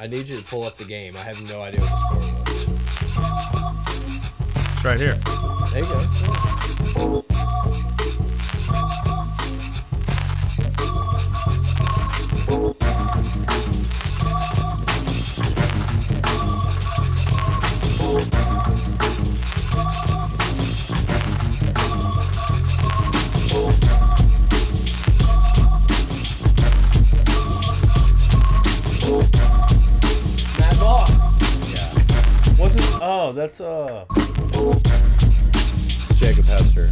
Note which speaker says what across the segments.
Speaker 1: I need you to pull up the game. I have no idea what the score was.
Speaker 2: It's right here.
Speaker 1: There you go.
Speaker 3: Matt Ball.
Speaker 2: Yeah.
Speaker 3: Wasn't oh that's uh
Speaker 1: It's Jacob Hester.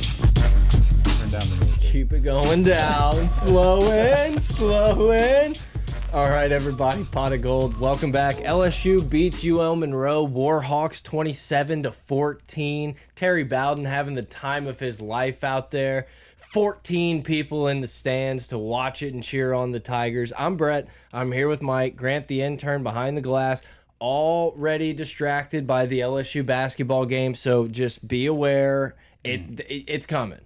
Speaker 2: Turn down the music.
Speaker 1: Keep it going down, slow in, slow in. All right, everybody, pot of gold. Welcome back. LSU beats UL Monroe Warhawks 27 to 14. Terry Bowden having the time of his life out there. 14 people in the stands to watch it and cheer on the Tigers. I'm Brett. I'm here with Mike Grant, the intern behind the glass. Already distracted by the LSU basketball game, so just be aware. It, it it's coming.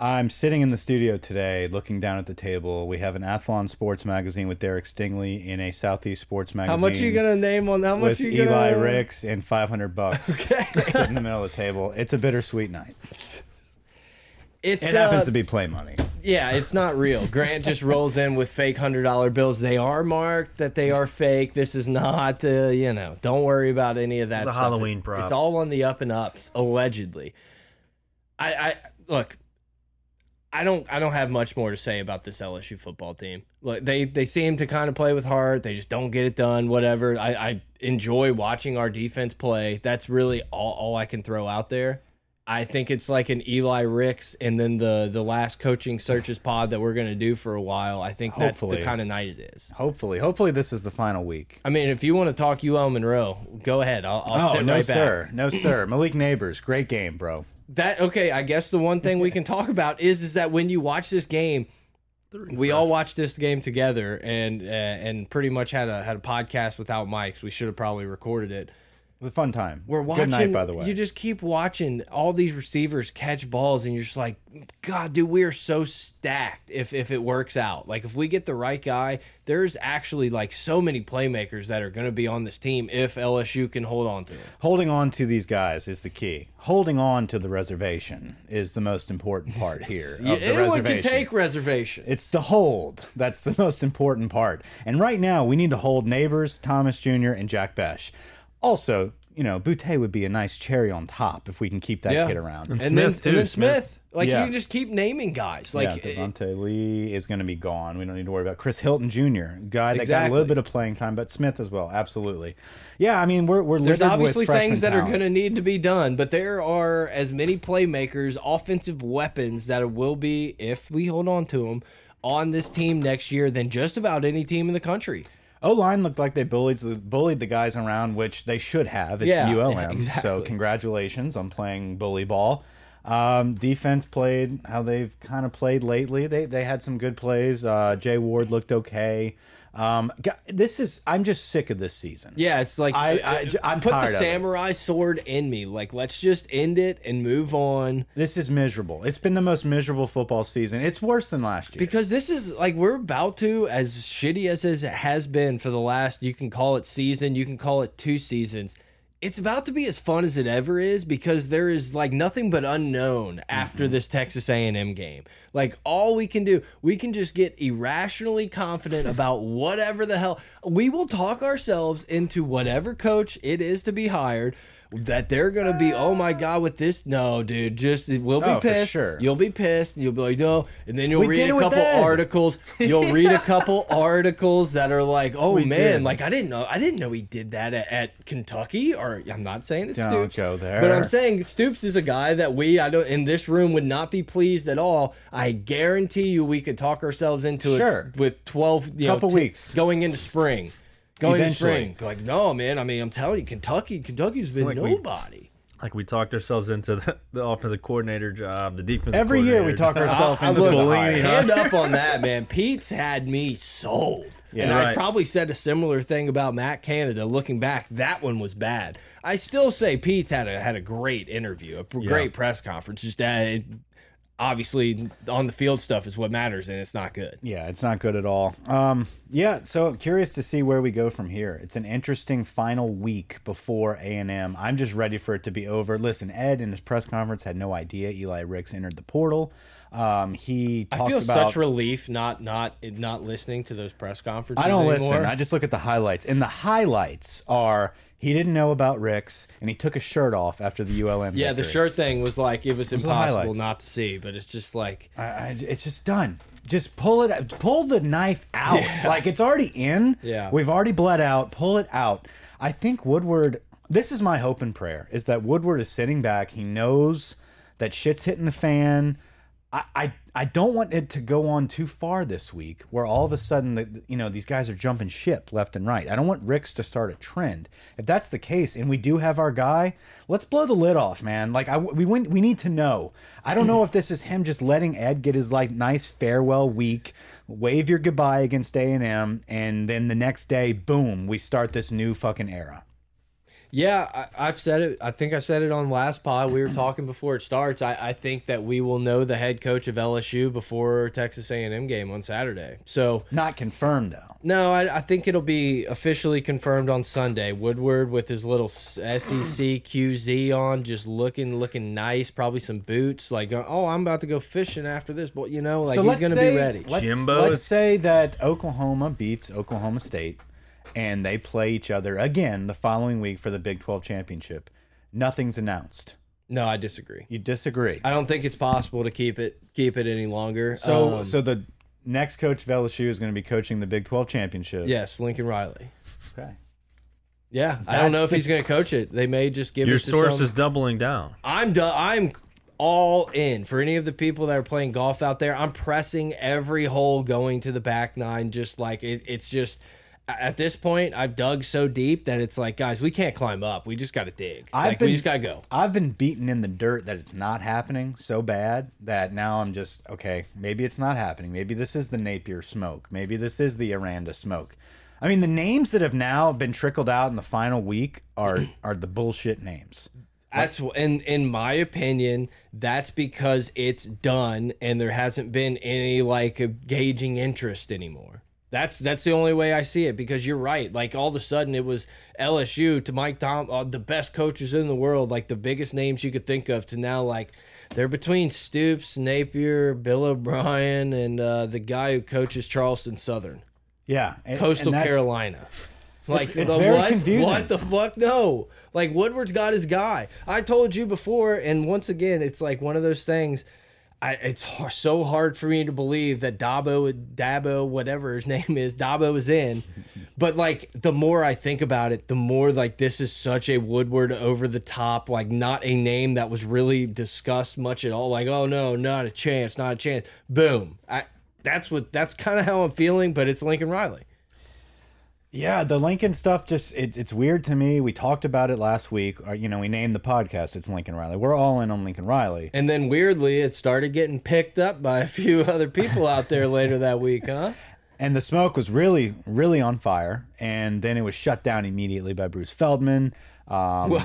Speaker 2: I'm sitting in the studio today looking down at the table. We have an Athlon Sports magazine with Derek Stingley in a Southeast Sports
Speaker 1: How
Speaker 2: magazine.
Speaker 1: much you gonna name on how much
Speaker 2: with
Speaker 1: you gonna
Speaker 2: Eli Ricks and 500 bucks sitting in the middle of the table. It's a bittersweet night.
Speaker 1: It's,
Speaker 2: It
Speaker 1: uh,
Speaker 2: happens to be play money.
Speaker 1: yeah, it's not real. Grant just rolls in with fake hundred dollar bills. They are marked that they are fake. This is not, uh, you know. Don't worry about any of that.
Speaker 3: It's a
Speaker 1: stuff.
Speaker 3: Halloween
Speaker 1: It-
Speaker 3: prop.
Speaker 1: It's all on the up and ups, allegedly. I, I look. I don't. I don't have much more to say about this LSU football team. Look, they they seem to kind of play with heart. They just don't get it done. Whatever. I, I enjoy watching our defense play. That's really all, all I can throw out there. I think it's like an Eli Ricks and then the the last coaching searches pod that we're gonna do for a while. I think that's the
Speaker 2: Hopefully.
Speaker 1: kind of night it is.
Speaker 2: Hopefully, hopefully this is the final week.
Speaker 1: I mean, if you want to talk UL Monroe, go ahead. I'll, I'll
Speaker 2: oh
Speaker 1: sit
Speaker 2: no,
Speaker 1: right back.
Speaker 2: sir, no sir. Malik Neighbors, great game, bro.
Speaker 1: That okay? I guess the one thing we can talk about is is that when you watch this game, we all watched this game together and uh, and pretty much had a had a podcast without mics. We should have probably recorded it.
Speaker 2: It was a fun time.
Speaker 1: We're watching.
Speaker 2: Good night, by the way.
Speaker 1: You just keep watching all these receivers catch balls, and you're just like, God, dude, we are so stacked. If if it works out, like if we get the right guy, there's actually like so many playmakers that are going to be on this team if LSU can hold on to it.
Speaker 2: Holding on to these guys is the key. Holding on to the reservation is the most important part here. of the
Speaker 1: Anyone can
Speaker 2: reservation.
Speaker 1: take reservation.
Speaker 2: It's the hold. That's the most important part. And right now, we need to hold neighbors, Thomas Jr., and Jack Besh. Also, you know, Boutte would be a nice cherry on top if we can keep that
Speaker 1: Yeah.
Speaker 2: kid around.
Speaker 1: and then,
Speaker 3: Smith, too,
Speaker 1: and then
Speaker 3: Smith.
Speaker 1: Smith. Like
Speaker 2: Yeah.
Speaker 1: you just keep naming guys. Like
Speaker 2: yeah,
Speaker 1: eh,
Speaker 2: Devontae Lee is going to be gone. We don't need to worry about Chris Hilton Jr., guy that got a
Speaker 1: Exactly.
Speaker 2: little bit of playing time, but Smith as well. Absolutely. Yeah, I mean, we're, we're
Speaker 1: there's
Speaker 2: littered with
Speaker 1: obviously
Speaker 2: freshman
Speaker 1: things that are
Speaker 2: talent.
Speaker 1: going to need to be done, but there are as many playmakers, offensive weapons that will be if we hold on to them on this team next year than just about any team in the country.
Speaker 2: O line looked like they bullied the, bullied the guys around, which they should have. It's
Speaker 1: Yeah,
Speaker 2: ULM,
Speaker 1: yeah,
Speaker 2: so
Speaker 1: exactly.
Speaker 2: congratulations on playing bully ball. Um, defense played how they've kind of played lately. They they had some good plays. Uh, Jay Ward looked okay. Um, g- this is I'm just sick of this season.
Speaker 1: Yeah, it's like
Speaker 2: I- I- I'm
Speaker 1: put
Speaker 2: tired
Speaker 1: the
Speaker 2: of it.
Speaker 1: samurai sword in me. Like let's just end it and move on.
Speaker 2: This is miserable. It's been the most miserable football season. It's worse than last year.
Speaker 1: Because this is like we're about to, as shitty as it has been for the last, you can call it season, you can call it two seasons. It's about to be as fun as it ever is because there is like nothing but unknown after
Speaker 2: Mm-hmm.
Speaker 1: this Texas A&M game. Like all we can do, we can just get irrationally confident about whatever the hell. We will talk ourselves into whatever coach it is to be hired. That they're gonna be, oh my god, with this? No, dude, just we'll be
Speaker 2: Oh, for
Speaker 1: pissed.
Speaker 2: sure.
Speaker 1: You'll be pissed, and you'll be like, no, and then you'll
Speaker 2: We
Speaker 1: read
Speaker 2: did it
Speaker 1: a
Speaker 2: with
Speaker 1: couple
Speaker 2: Ed.
Speaker 1: articles. You'll read a couple articles that are like, "Oh man,
Speaker 2: did.
Speaker 1: like I didn't know, I didn't know he did that at, at Kentucky." Or I'm not saying it's
Speaker 2: Don't
Speaker 1: Stoops,
Speaker 2: go there.
Speaker 1: but I'm saying Stoops is a guy that we I don't in this room would not be pleased at all. I guarantee you, we could talk ourselves into
Speaker 2: Sure.
Speaker 1: it with 12, you
Speaker 2: Couple
Speaker 1: know, t-
Speaker 2: weeks.
Speaker 1: going into spring, going into
Speaker 2: Eventually.
Speaker 1: spring. Be Like, no, man, I mean, I'm telling you, Kentucky, Kentucky's been
Speaker 3: Like we-
Speaker 1: nobody.
Speaker 3: like we talked ourselves into the, the offensive coordinator job, the defensive
Speaker 2: Every year we
Speaker 3: coordinator
Speaker 2: talk
Speaker 3: job.
Speaker 2: ourselves
Speaker 1: I
Speaker 2: into
Speaker 1: would
Speaker 2: the
Speaker 3: Bellini,
Speaker 2: hire.
Speaker 3: huh?
Speaker 1: hand up on that, man. Pete's had me sold.
Speaker 2: Yeah.
Speaker 1: and I
Speaker 3: Right.
Speaker 1: probably said a similar thing about Matt Canada. Looking back, that one was bad. I still say Pete's had a had a great interview, a pr- great press conference. Just uh, it- obviously on the field stuff is what matters, and it's not good.
Speaker 2: Yeah, it's not good at all. Um, yeah, so curious to see where we go from here. It's an interesting final week before A and M. I'm just ready for it to be over. Listen, Ed in his press conference had no idea Eli Ricks entered the portal. Um, he talked
Speaker 1: I feel
Speaker 2: about.
Speaker 1: such relief not not not listening to those press conferences.
Speaker 2: I don't
Speaker 1: anymore.
Speaker 2: listen. I just look at the highlights, and the highlights are he didn't know about Ricks, and he took his shirt off after the ULM.
Speaker 1: yeah, the
Speaker 2: victory.
Speaker 1: shirt thing was like it was
Speaker 2: the
Speaker 1: impossible
Speaker 2: highlights?
Speaker 1: not to see, but it's just like
Speaker 2: I, I, it's just done. Just pull it. Pull the knife out. Like it's already in.
Speaker 1: Yeah.
Speaker 2: We've already bled out. Pull it out. I think Woodward. This is my hope and prayer is that Woodward is sitting back. He knows that shit's hitting the fan. I, I, I don't want it to go on too far this week where all of a sudden the, you know these guys are jumping ship left and right. I don't want Ricks to start a trend. If that's the case and we do have our guy, let's blow the lid off, man. Like I we win- we need to know. I don't know if this is him just letting Ed get his like nice farewell week, wave your goodbye against A&M and then the next day boom, we start this new fucking era.
Speaker 1: Yeah, I, I've said it. I think I said it on last pod. We were talking before it starts. I, I think that we will know the head coach of LSU before Texas A&M game on Saturday. So
Speaker 2: Not confirmed though.
Speaker 1: no, I, I think it'll be officially confirmed on Sunday. Woodward with his little s- E SEC QZ on, just looking looking nice. Probably some boots. Like oh, I'm about to go fishing after this, but you know, like he's gonna be ready.
Speaker 2: Let's,
Speaker 3: Jimbo
Speaker 2: let's
Speaker 3: is-
Speaker 2: say that Oklahoma beats Oklahoma State, and they play each other again the following week for the Big Twelve championship. Nothing's announced.
Speaker 1: No, I disagree.
Speaker 2: You disagree?
Speaker 1: I don't think it's possible to keep it keep it any longer.
Speaker 2: so,
Speaker 1: Um,
Speaker 2: so the next coach of LSU is going to be coaching the Big Twelve championship.
Speaker 1: yes, Lincoln Riley.
Speaker 2: Okay.
Speaker 1: Yeah, I don't know if
Speaker 2: That's the-
Speaker 1: he's going to coach it. They may just give
Speaker 3: Your
Speaker 1: it to
Speaker 3: source
Speaker 1: some-
Speaker 3: is doubling down.
Speaker 1: I'm do I'm all in for any of the people that are playing golf out there. I'm pressing every hole going to the back nine. Just like it, it's just a- at this point, I've dug so deep that it's like, guys, we can't climb up. We just got to dig.
Speaker 2: I've
Speaker 1: like,
Speaker 2: been-
Speaker 1: we just got to go.
Speaker 2: I've been beaten in the dirt that it's not happening so bad that now I'm just okay. Maybe it's not happening. Maybe this is the Napier smoke. Maybe this is the Aranda smoke. I mean, the names that have now been trickled out in the final week are are the bullshit names.
Speaker 1: That's wh- in in my opinion, that's because it's done and there hasn't been any like gauging interest anymore. That's that's the only way I see it because you're right. Like all of a sudden it was LSU to Mike Tom, uh, the best coaches in the world, like the biggest names you could think of, to now like they're between Stoops, Napier, Bill O'Brien, and uh, the guy who coaches Charleston Southern,
Speaker 2: Yeah, and-
Speaker 1: Coastal
Speaker 2: and that's-
Speaker 1: Carolina. Like
Speaker 2: it's
Speaker 1: the
Speaker 2: very
Speaker 1: what?
Speaker 2: confusing.
Speaker 1: What the fuck? No. Like Woodward's got his guy. I told you before, and once again, it's like one of those things. I, it's har so hard for me to believe that Dabo, Dabo, whatever his name is, Dabo is in. But like, the more I think about it, the more like this is such a Woodward over the top, like not a name that was really discussed much at all. Like, oh no, not a chance, not a chance. Boom. I, that's what. That's kind of how I'm feeling. But it's Lincoln Riley.
Speaker 2: Yeah, the Lincoln stuff just it, it's weird to me. We talked about it last week. Or, you know, we named the podcast. It's Lincoln Riley. We're all in on Lincoln Riley.
Speaker 1: And then weirdly, it started getting picked up by a few other people out there later that week, huh?
Speaker 2: And the smoke was really, really on fire. And then it was shut down immediately by Bruce Feldman. Um,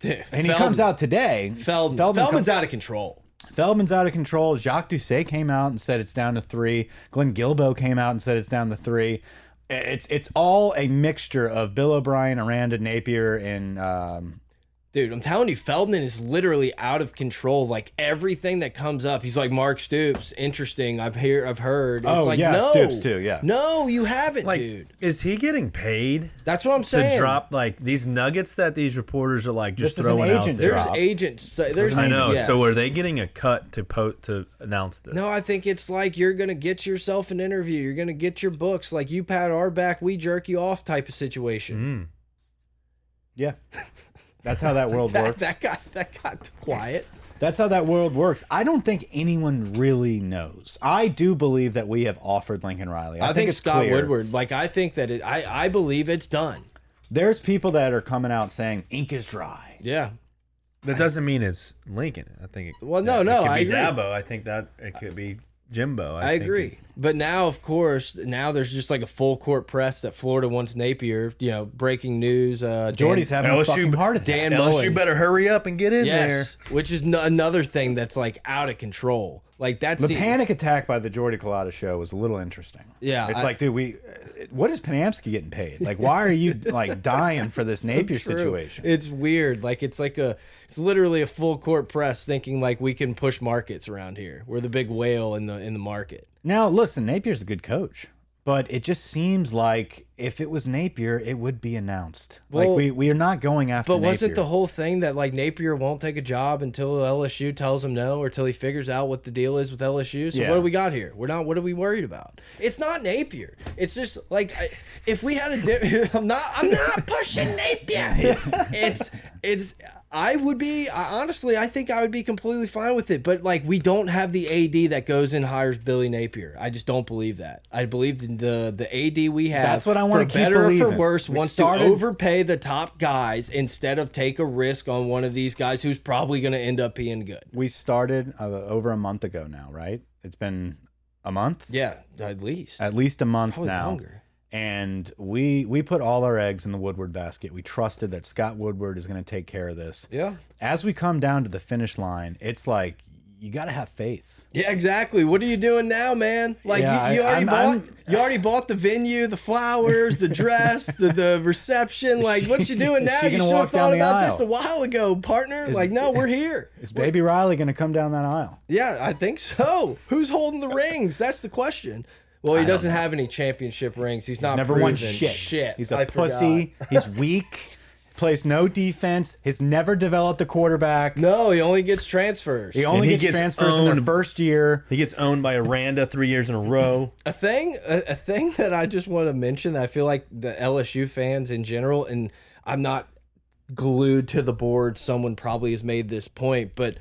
Speaker 1: Dude,
Speaker 2: and he comes out today.
Speaker 1: Feldman.
Speaker 2: Feldman
Speaker 1: Feldman's out of control.
Speaker 2: Feldman's out of control. Jacques Doucet came out and said it's down to three. Glenn Gilbo came out and said it's down to three. It's it's all a mixture of Bill O'Brien, Aranda, Napier, and um,
Speaker 1: Dude, I'm telling you, Feldman is literally out of control. Like everything that comes up, he's like Mark Stoops. Interesting. I've hear, I've heard. It's
Speaker 2: Oh,
Speaker 1: like,
Speaker 2: yeah,
Speaker 1: no,
Speaker 2: Stoops too, yeah.
Speaker 1: No, you haven't,
Speaker 3: Like,
Speaker 1: dude.
Speaker 3: is he getting paid
Speaker 1: That's what I'm
Speaker 3: to
Speaker 1: saying.
Speaker 3: drop like these nuggets that these reporters are like just
Speaker 2: This is an
Speaker 3: throwing out
Speaker 2: agent
Speaker 3: there?
Speaker 1: There's
Speaker 2: drop.
Speaker 1: agents. There's
Speaker 3: I know.
Speaker 1: yes.
Speaker 3: So are they getting a cut to po to announce this?
Speaker 1: No, I think it's like you're gonna get yourself an interview. You're gonna get your books, like you pat our back, we jerk you off type of situation.
Speaker 2: yeah. That's how that world
Speaker 1: That,
Speaker 2: works.
Speaker 1: that got that got quiet.
Speaker 2: That's how that world works. I don't think anyone really knows. I do believe that we have offered Lincoln Riley. I,
Speaker 1: I, think,
Speaker 2: it's
Speaker 1: Scott
Speaker 2: clear.
Speaker 1: Woodward. Like I think that it, I I believe it's done.
Speaker 2: There's people that are coming out saying ink is dry.
Speaker 1: Yeah.
Speaker 3: that doesn't mean it's Lincoln. I think. It,
Speaker 1: Well, no,
Speaker 3: it
Speaker 1: no,
Speaker 3: could
Speaker 1: I
Speaker 3: be
Speaker 1: agree.
Speaker 3: Dabo. I think that it could be Jimbo. I,
Speaker 1: I
Speaker 3: think,
Speaker 1: agree. But now, of course, now there's just like a full court press that Florida wants Napier. You know, breaking news. Uh,
Speaker 2: Jordy's
Speaker 1: Dan,
Speaker 2: having a fucking heart attack.
Speaker 1: Dan
Speaker 3: is- LSU
Speaker 1: Mullen.
Speaker 3: better hurry up and get in
Speaker 1: Yes, which is n another thing that's like out of control. Like that's
Speaker 2: The panic attack by the Jordy Collada show was a little interesting.
Speaker 1: Yeah,
Speaker 2: it's
Speaker 1: I-
Speaker 2: like, dude, we, what is Panamsky getting paid? Like, why are you like dying for this Napier
Speaker 1: True.
Speaker 2: situation?
Speaker 1: It's weird. Like it's like a it's literally a full court press thinking like we can push markets around here. We're the big whale in the in the market.
Speaker 2: Now, listen, Napier's a good coach, but it just seems like if it was Napier, it would be announced.
Speaker 1: Well,
Speaker 2: like we we are not going after.
Speaker 1: But wasn't
Speaker 2: Napier.
Speaker 1: the whole thing that like Napier won't take a job until LSU tells him no or till he figures out what the deal is with LSU? So
Speaker 2: Yeah.
Speaker 1: what do we got here? We're not. What are we worried about? It's not Napier. It's just like I, if we had a. Di I'm not. I'm not pushing Napier. It's it's. I would be I, honestly. I think I would be completely fine with it. But like we don't have the AD that goes in and hires Billy Napier. I just don't believe that. I believe the the AD we have.
Speaker 2: That's what I wanna
Speaker 1: for
Speaker 2: keep
Speaker 1: better or for
Speaker 2: believing.
Speaker 1: worse.
Speaker 2: We
Speaker 1: wants to
Speaker 2: started-
Speaker 1: over overpay the top guys instead of take a risk on one of these guys who's probably going to end up being good.
Speaker 2: we started uh, over a month ago now, right? It's been a month,
Speaker 1: Yeah, at least.
Speaker 2: at least a month
Speaker 1: Probably
Speaker 2: now.
Speaker 1: longer.
Speaker 2: And we we put all our eggs in the Woodward basket. We trusted that Scott Woodward is going to take care of this.
Speaker 1: Yeah.
Speaker 2: As we come down to the finish line, it's like you got to have faith.
Speaker 1: Yeah, exactly. What are you doing now, man? Like
Speaker 2: Yeah,
Speaker 1: you, you
Speaker 2: I-
Speaker 1: already
Speaker 2: I'm-
Speaker 1: bought
Speaker 2: I'm-
Speaker 1: you already bought the venue, the flowers, the dress, the, the reception. Like what you doing
Speaker 2: Is
Speaker 1: now?
Speaker 2: she
Speaker 1: You
Speaker 2: gonna
Speaker 1: should have
Speaker 2: walk down
Speaker 1: thought
Speaker 2: the
Speaker 1: about
Speaker 2: aisle?
Speaker 1: this a while ago, partner. like no, we're here.
Speaker 2: Is Baby Riley going to come down that aisle?
Speaker 1: Yeah, I think so. Who's holding the rings? That's the question. Well, he doesn't have any championship rings. He's not
Speaker 2: Never won
Speaker 1: proven
Speaker 2: shit.
Speaker 1: shit.
Speaker 2: He's a
Speaker 1: I forgot.
Speaker 2: pussy. He's weak. Plays no defense. Has never developed a quarterback.
Speaker 1: No, he only gets transfers.
Speaker 2: He only
Speaker 3: he
Speaker 2: gets,
Speaker 3: gets
Speaker 2: transfers in their
Speaker 3: owned.
Speaker 2: first year.
Speaker 3: He gets owned by Aranda three years in a row.
Speaker 1: A thing, a, a thing that I just want to mention that I feel like the LSU fans in general, and I'm not glued to the board. Someone probably has made this point, but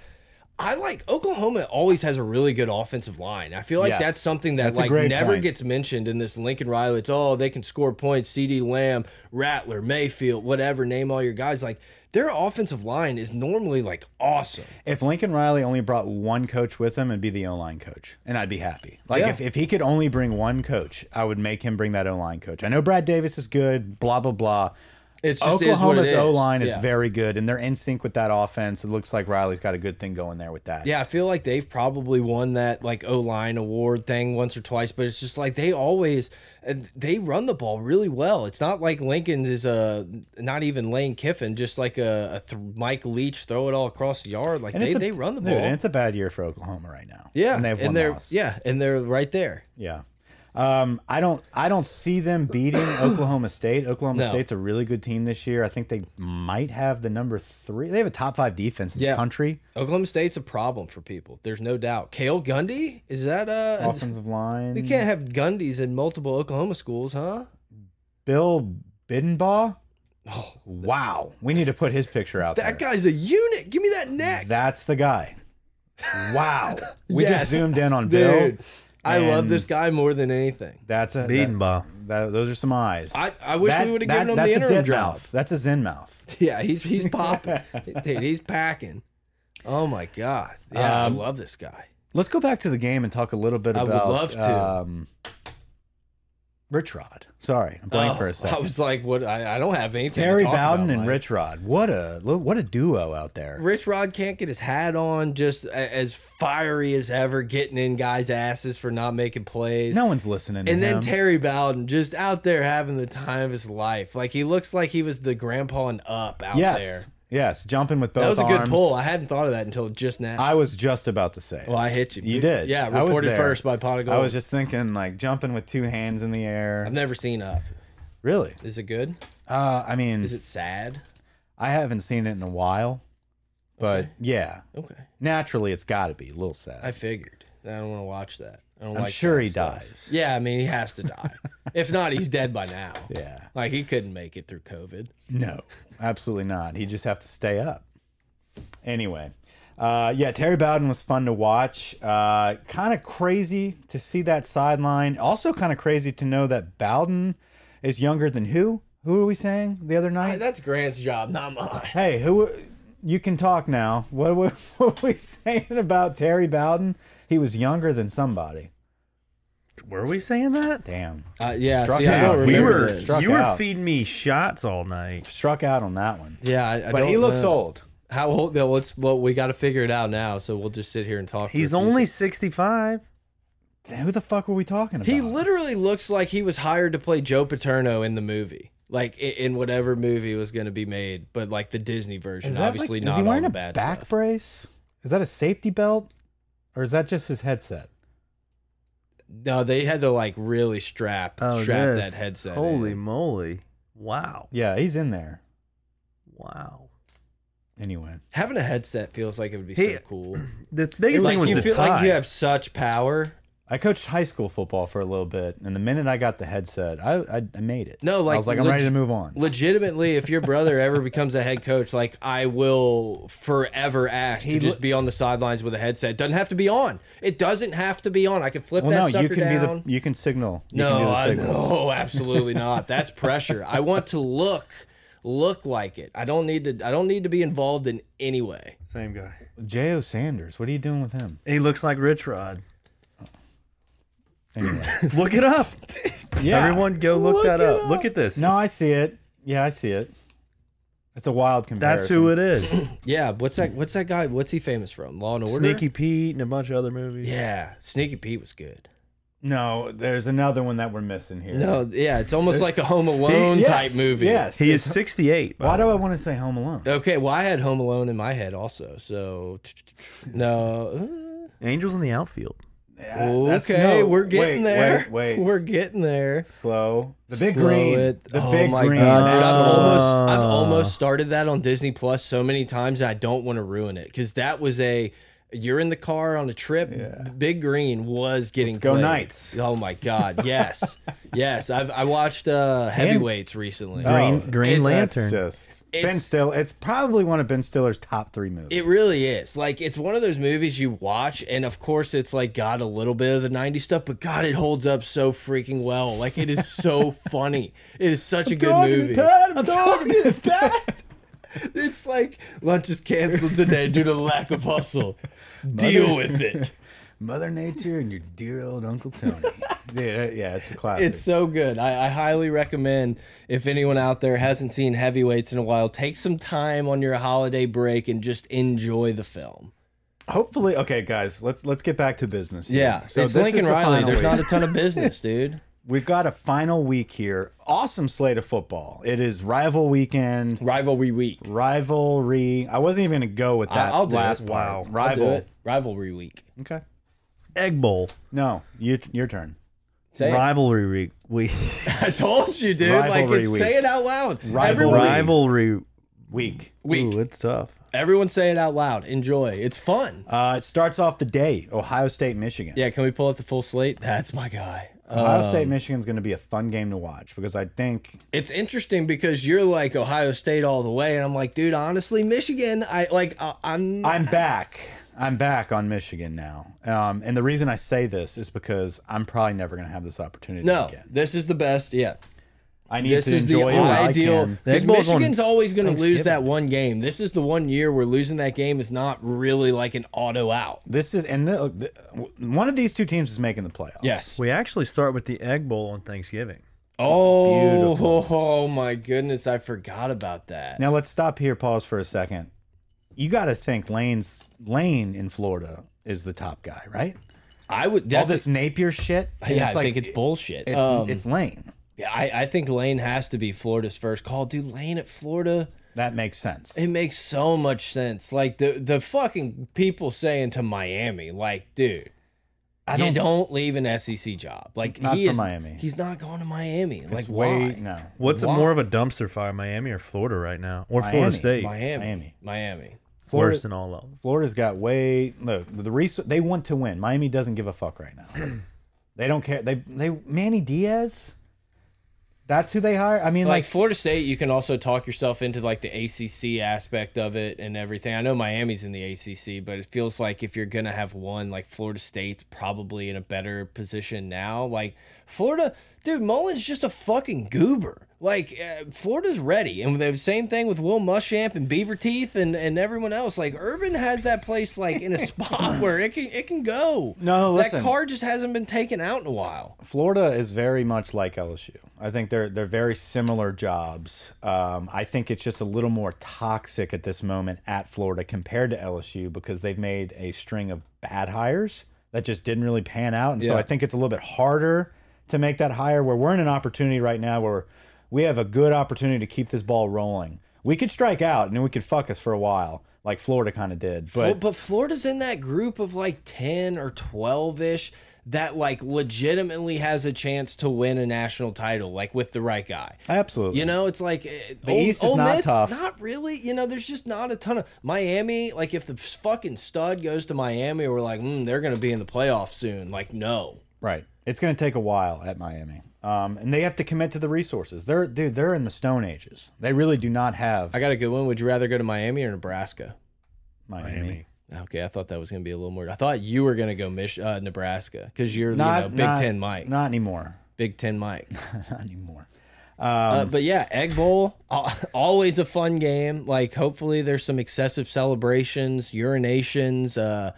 Speaker 1: I like Oklahoma always has a really good offensive line. I feel like
Speaker 2: Yes.
Speaker 1: that's something that
Speaker 2: That's a
Speaker 1: like
Speaker 2: great
Speaker 1: never
Speaker 2: point.
Speaker 1: gets mentioned in this Lincoln Riley. It's oh they can score points. C.D. Lamb, Rattler, Mayfield, whatever. Name all your guys. Like their offensive line is normally like awesome.
Speaker 2: If Lincoln Riley only brought one coach with him, it'd be the O line coach, and I'd be happy. Like
Speaker 1: Yeah.
Speaker 2: if, if he could only bring one coach, I would make him bring that O line coach. I know Brad Davis is good. Blah blah blah.
Speaker 1: It's just is what it
Speaker 2: Oklahoma's
Speaker 1: is.
Speaker 2: O line is
Speaker 1: Yeah.
Speaker 2: very good, and they're in sync with that offense. It looks like Riley's got a good thing going there with that.
Speaker 1: Yeah, I feel like they've probably won that like O line award thing once or twice, but it's just like they always uh, they run the ball really well. It's not like Lincoln is a not even Lane Kiffin, just like a, a th Mike Leach throw it all across the yard. Like
Speaker 2: And
Speaker 1: they,
Speaker 2: it's a-
Speaker 1: they run the
Speaker 2: dude,
Speaker 1: ball.
Speaker 2: and it's a bad year for Oklahoma right now.
Speaker 1: yeah,
Speaker 2: and they have one
Speaker 1: they're
Speaker 2: loss.
Speaker 1: yeah, and they're right there.
Speaker 2: Yeah. Um, I don't I don't see them beating Oklahoma State. Oklahoma
Speaker 1: No.
Speaker 2: State's a really good team this year. I think they might have the number three. They have a top five defense in
Speaker 1: Yeah.
Speaker 2: the country.
Speaker 1: Oklahoma State's a problem for people. There's no doubt. Kale Gundy is that uh?
Speaker 2: Offensive line.
Speaker 1: You can't have Gundys in multiple Oklahoma schools, huh?
Speaker 2: Bill Bidenbaugh.
Speaker 1: Oh,
Speaker 2: Wow. We need to put his picture out
Speaker 1: that
Speaker 2: there.
Speaker 1: guy's a unit. Give me that neck.
Speaker 2: That's the guy. Wow. We
Speaker 1: Yes.
Speaker 2: just zoomed in on Bill.
Speaker 1: Dude, I love
Speaker 2: and
Speaker 1: this guy more than anything.
Speaker 2: That's a that,
Speaker 3: Beatenbaugh.
Speaker 2: that- those are some eyes.
Speaker 1: I, I wish
Speaker 2: That-
Speaker 1: we would have
Speaker 2: that-
Speaker 1: given him
Speaker 2: that's
Speaker 1: the
Speaker 2: a
Speaker 1: interim
Speaker 2: dead
Speaker 1: job.
Speaker 2: mouth. That's a Zen mouth.
Speaker 1: Yeah, he's he's popping. Dude, he's packing. Oh my god. Yeah,
Speaker 2: Um,
Speaker 1: I love this guy.
Speaker 2: Let's go back to the game and talk a little bit
Speaker 1: I would
Speaker 2: about.
Speaker 1: love to.
Speaker 2: Um, Rich Rod. Sorry, I'm blank
Speaker 1: Oh,
Speaker 2: for a
Speaker 1: I
Speaker 2: second.
Speaker 1: was like, what? I, I don't have anything. to
Speaker 2: Terry
Speaker 1: talk
Speaker 2: Bowden
Speaker 1: about,
Speaker 2: and
Speaker 1: Mike.
Speaker 2: Rich Rod. What a what a duo out there.
Speaker 1: Rich Rod can't get his hat on, just a- as fiery as ever, getting in guys' asses for not making plays.
Speaker 2: No one's listening. to
Speaker 1: And then
Speaker 2: him.
Speaker 1: Terry Bowden just out there having the time of his life. Like he looks like he was the grandpa and up out
Speaker 2: yes,
Speaker 1: there.
Speaker 2: yes, jumping with both.
Speaker 1: That was a good
Speaker 2: arms.
Speaker 1: pull. I hadn't thought of that until just now.
Speaker 2: I was just about to say. it.
Speaker 1: well, I hit you.
Speaker 2: you did.
Speaker 1: Yeah,
Speaker 2: I was
Speaker 1: reported
Speaker 2: there.
Speaker 1: first by Pot of Gold.
Speaker 2: I was just thinking like jumping with two hands in the air.
Speaker 1: I've never seen Up.
Speaker 2: Really?
Speaker 1: Is it good?
Speaker 2: Uh, I mean,
Speaker 1: Is it sad?
Speaker 2: I haven't seen it in a while, but yeah,
Speaker 1: Okay.
Speaker 2: naturally it's got to be a little sad.
Speaker 1: I figured. I don't want to watch that. I don't
Speaker 2: I'm
Speaker 1: like
Speaker 2: sure
Speaker 1: sad
Speaker 2: he
Speaker 1: stuff.
Speaker 2: dies.
Speaker 1: Yeah, I mean, he has to die. if not, he's dead by now.
Speaker 2: yeah.
Speaker 1: Like, he couldn't make it through COVID.
Speaker 2: No, absolutely not. He'd just have to stay up. Anyway, uh, yeah, Terry Bowden was fun to watch. Uh, kind of crazy to see that sideline. Also, kind of crazy to know that Bowden is younger than who? Who were we saying the other night?
Speaker 1: That's Grant's job, not mine.
Speaker 2: Hey, who? you can talk now. What were, what were we saying about Terry Bowden? He was younger than somebody.
Speaker 3: Were we saying that?
Speaker 2: Damn.
Speaker 1: Uh, yeah,
Speaker 2: Struck
Speaker 1: see, I
Speaker 2: out.
Speaker 1: don't
Speaker 3: we
Speaker 1: remember
Speaker 3: were.
Speaker 1: this.
Speaker 2: Struck
Speaker 3: you were
Speaker 2: out.
Speaker 3: feeding me shots all night.
Speaker 2: Struck out on that one.
Speaker 1: Yeah, I, I
Speaker 2: But he
Speaker 1: don't
Speaker 2: looks
Speaker 1: know.
Speaker 2: old.
Speaker 1: How old? No, let's. Well, we got to figure it out now. So we'll just sit here and talk. for a
Speaker 3: He's
Speaker 1: few
Speaker 3: only
Speaker 1: seconds.
Speaker 3: sixty-five.
Speaker 2: Who the fuck were we talking about?
Speaker 1: He literally looks like he was hired to play Joe Paterno in the movie, like i- in whatever movie was going to be made, but like the Disney version.
Speaker 2: Is that
Speaker 1: Obviously,
Speaker 2: like-
Speaker 1: not
Speaker 2: Is he
Speaker 1: all
Speaker 2: wearing
Speaker 1: the
Speaker 2: a
Speaker 1: bad
Speaker 2: back
Speaker 1: stuff.
Speaker 2: brace? Is that a safety belt, or is that just his headset?
Speaker 1: No, they had to like really strap
Speaker 2: Oh,
Speaker 1: strap that headset.
Speaker 3: Oh, Holy
Speaker 1: in.
Speaker 3: moly! Wow!
Speaker 2: Yeah, he's in there
Speaker 3: Wow!
Speaker 2: anyway.
Speaker 1: having a headset feels like it would be
Speaker 3: He-
Speaker 1: so cool.
Speaker 3: The biggest
Speaker 1: like
Speaker 3: thing was
Speaker 1: you
Speaker 3: the
Speaker 1: feel
Speaker 3: tie.
Speaker 1: like you have such power.
Speaker 2: I coached high school football for a little bit, and the minute I got the headset, I I, I made it.
Speaker 1: No, like,
Speaker 2: I was like, I'm
Speaker 1: leg-
Speaker 2: ready to move on.
Speaker 1: Legitimately, if your brother ever becomes a head coach, like I will forever ask
Speaker 2: He
Speaker 1: to just
Speaker 2: lo-
Speaker 1: be on the sidelines with a headset. Doesn't have to be on. It doesn't have to be on. I can flip
Speaker 2: Well,
Speaker 1: that
Speaker 2: no,
Speaker 1: sucker
Speaker 2: you can
Speaker 1: down.
Speaker 2: be the you can signal. You
Speaker 1: no,
Speaker 2: can do the
Speaker 1: I,
Speaker 2: signal.
Speaker 1: no, absolutely not. That's pressure. I want to look look like it. I don't need to. I don't need to be involved in any way.
Speaker 3: Same guy.
Speaker 2: J.O. Sanders, what are you doing with him?
Speaker 3: He looks like Rich Rod.
Speaker 2: Anyway,
Speaker 3: Look it up.
Speaker 2: yeah,
Speaker 3: Everyone, go look,
Speaker 1: Look
Speaker 3: that
Speaker 1: it
Speaker 3: up.
Speaker 1: up.
Speaker 3: Look at this.
Speaker 2: No, I see it. Yeah, I see it. It's a wild comparison.
Speaker 3: that's who it is.
Speaker 1: Yeah. What's that? What's that guy? What's he famous from? Law and Order.
Speaker 3: Sneaky Pete and a bunch of other movies.
Speaker 1: Yeah, Sneaky Pete was good.
Speaker 2: No, there's another one that we're missing here.
Speaker 1: No, yeah, it's almost like a Home Alone
Speaker 2: Yes,
Speaker 1: type movie. Uh,
Speaker 2: Yes.
Speaker 3: He is
Speaker 2: it's-
Speaker 3: sixty-eight. by
Speaker 2: Why
Speaker 3: the
Speaker 2: do
Speaker 3: way.
Speaker 2: I want to say Home Alone?
Speaker 1: Okay, well, I had Home Alone in my head also, so no.
Speaker 3: Angels in the outfield.
Speaker 1: uh,
Speaker 2: Yeah, that's-
Speaker 1: Okay,
Speaker 2: no,
Speaker 1: we're getting
Speaker 2: wait,
Speaker 1: there.
Speaker 2: Wait, wait.
Speaker 1: we're getting there.
Speaker 2: slow. The big
Speaker 1: Slow
Speaker 2: green.
Speaker 1: it.
Speaker 2: The
Speaker 1: oh
Speaker 2: big
Speaker 1: my
Speaker 2: green. Ah.
Speaker 1: God, dude,
Speaker 2: that's
Speaker 1: I've
Speaker 2: the one.
Speaker 1: almost I've almost started that on Disney Plus so many times, and I don't want to ruin it because that was a you're in the car on a trip.
Speaker 2: Yeah.
Speaker 1: Big Green was getting
Speaker 2: Let's go
Speaker 1: played.
Speaker 2: Knights.
Speaker 1: Oh my God, yes, yes. I've I watched uh, Heavyweights recently.
Speaker 3: Green-
Speaker 2: Oh,
Speaker 3: Green
Speaker 2: it's-
Speaker 3: Lantern.
Speaker 2: That's just Ben
Speaker 1: It's-
Speaker 2: Still. It's probably one of Ben Stiller's top three movies.
Speaker 1: It really is. Like it's one of those movies you watch, and of course it's like got a little bit of the '90s stuff, but God, it holds up so freaking well. Like it is so funny. It is such a good
Speaker 2: talking to
Speaker 1: movie.
Speaker 2: Dad, I'm
Speaker 1: talking to Dad. It's like lunch is canceled today due to lack of hustle. Deal with it.
Speaker 2: Mother Nature and your dear old Uncle Tony. yeah, yeah, it's a classic.
Speaker 1: It's so good. I, I highly recommend if anyone out there hasn't seen Heavyweights in a while, take some time on your holiday break and just enjoy the film.
Speaker 2: hopefully okay, guys. Let's let's get back to business. here.
Speaker 1: Yeah,
Speaker 2: so
Speaker 1: it's
Speaker 2: this
Speaker 1: Lincoln
Speaker 2: is the
Speaker 1: Riley.
Speaker 2: final
Speaker 1: There's
Speaker 2: week.
Speaker 1: not a ton of business, dude.
Speaker 2: We've got a final week here. Awesome slate of football. It is rival weekend.
Speaker 1: Rivalry week.
Speaker 2: Rivalry. I wasn't even gonna go with that
Speaker 1: I'll do
Speaker 2: last
Speaker 1: it.
Speaker 2: part.
Speaker 3: Wow.
Speaker 1: I'll do
Speaker 2: Rival.
Speaker 1: it. Rivalry week.
Speaker 2: Okay.
Speaker 3: Egg Bowl.
Speaker 2: No, you, your turn.
Speaker 1: Say it.
Speaker 3: Rivalry week. We
Speaker 1: I told you, dude.
Speaker 2: Rivalry
Speaker 1: like, it's,
Speaker 2: week.
Speaker 1: say it out loud.
Speaker 2: Rivalry
Speaker 1: Everyone,
Speaker 3: rivalry
Speaker 2: Week.
Speaker 1: week.
Speaker 3: Ooh, it's tough.
Speaker 1: Everyone say it out loud. Enjoy. It's fun.
Speaker 2: Uh, it starts off the day. Ohio State, Michigan.
Speaker 1: Yeah, can we pull up the full slate? That's my guy. Uh,
Speaker 2: Ohio State, Michigan's going to be a fun game to watch because I think
Speaker 1: it's interesting because you're like Ohio State all the way, and I'm like, dude, honestly, Michigan. I like. I, I'm.
Speaker 2: I'm back. I'm back on Michigan now. Um, and the reason I say this is because I'm probably never going to have this opportunity
Speaker 1: no,
Speaker 2: again.
Speaker 1: this is the best. Yeah,
Speaker 2: I need
Speaker 1: this
Speaker 2: to
Speaker 1: is the
Speaker 2: enjoy it while I
Speaker 1: ideal.
Speaker 2: can.
Speaker 1: Because
Speaker 3: Egg Bowl's on
Speaker 1: Michigan's always going to lose that one game. This is the one year where losing that game is not really like an auto out.
Speaker 2: This is and the, the, one of these two teams is making the playoffs.
Speaker 1: Yes.
Speaker 3: We actually start with the Egg Bowl on Thanksgiving.
Speaker 1: Oh, oh my goodness, I forgot about that.
Speaker 2: Now let's stop here. Pause for a second. You got to think Lane's Lane in Florida is the top guy, right?
Speaker 1: I would
Speaker 2: All
Speaker 1: that's
Speaker 2: this Napier shit. and
Speaker 1: yeah, I
Speaker 2: like,
Speaker 1: think it's bullshit.
Speaker 2: It's,
Speaker 1: um,
Speaker 2: it's Lane.
Speaker 1: yeah, I, I think Lane has to be Florida's first call. Dude, Lane at Florida,
Speaker 2: That makes sense.
Speaker 1: it makes so much sense. Like the the fucking people saying to Miami, like, dude,
Speaker 2: I
Speaker 1: you
Speaker 2: don't.
Speaker 1: don't leave an SEC job. Like
Speaker 2: Not
Speaker 1: he
Speaker 2: for
Speaker 1: is
Speaker 2: Miami.
Speaker 1: He's not going to Miami. like
Speaker 2: it's way
Speaker 1: why?
Speaker 2: no.
Speaker 3: What's
Speaker 1: Why?
Speaker 3: more of a dumpster fire, Miami or Florida right now, or
Speaker 2: Miami.
Speaker 3: Florida State?
Speaker 1: Miami. Miami.
Speaker 2: Miami.
Speaker 3: Florida. Worse than all of them.
Speaker 2: Florida's got way look the resource they want to win. Miami doesn't give a fuck right now. they don't care. They they Manny Diaz. That's who they hire. I mean,
Speaker 1: Like
Speaker 2: like,
Speaker 1: Florida State, you can also talk yourself into like the ACC aspect of it and everything. I know Miami's in the ACC, but it feels like if you're gonna have one, like Florida State's probably in a better position now. Like Florida, Dude, Mullen's just a fucking goober. Like uh, Florida's ready, and the same thing with Will Muschamp and Beaver Teeth and, and everyone else. Like Urban has that place like in a spot where it can it can go.
Speaker 2: No, listen.
Speaker 1: that car just hasn't been taken out in a while.
Speaker 2: Florida is very much like LSU. I think they're they're very similar jobs. Um, I think it's just a little more toxic at this moment at Florida compared to LSU because they've made a string of bad hires that just didn't really pan out, and so
Speaker 1: Yeah.
Speaker 2: I think it's a little bit harder to make that hire. Where we're in an opportunity right now where we have a good opportunity to keep this ball rolling. We could strike out and then we could fuck us for a while, like Florida kind of did. But
Speaker 1: But, but Florida's in that group of like 10 or 12 ish that like legitimately has a chance to win a national title, like with the right guy.
Speaker 2: absolutely,
Speaker 1: You know, it's like eh,
Speaker 2: The
Speaker 1: Ole-
Speaker 2: East is
Speaker 1: Ole
Speaker 2: not
Speaker 1: Miss,
Speaker 2: tough.
Speaker 1: Not really. You know, there's just not a ton of Miami. Like, if the fucking stud goes to Miami, we're like, mm, they're going to be in the playoff soon. Like, no.
Speaker 2: Right. It's going to take a while at Miami. Um, and they have to commit to the resources. They're dude, they're in the stone ages. They really do not have
Speaker 1: I got a good one. Would you rather go to Miami or Nebraska?
Speaker 2: Miami.
Speaker 3: Miami.
Speaker 1: Okay, I thought that was going to be a little more. I thought you were going to go Mich uh, Nebraska because you're
Speaker 2: Not
Speaker 1: you know, Big
Speaker 2: not-
Speaker 1: Ten Mike.
Speaker 2: Not anymore.
Speaker 1: Big Ten Mike.
Speaker 2: not anymore.
Speaker 1: Uh,
Speaker 3: Um,
Speaker 1: but yeah, Egg Bowl, al- always a fun game. Like, hopefully, there's some excessive celebrations, urinations, uh,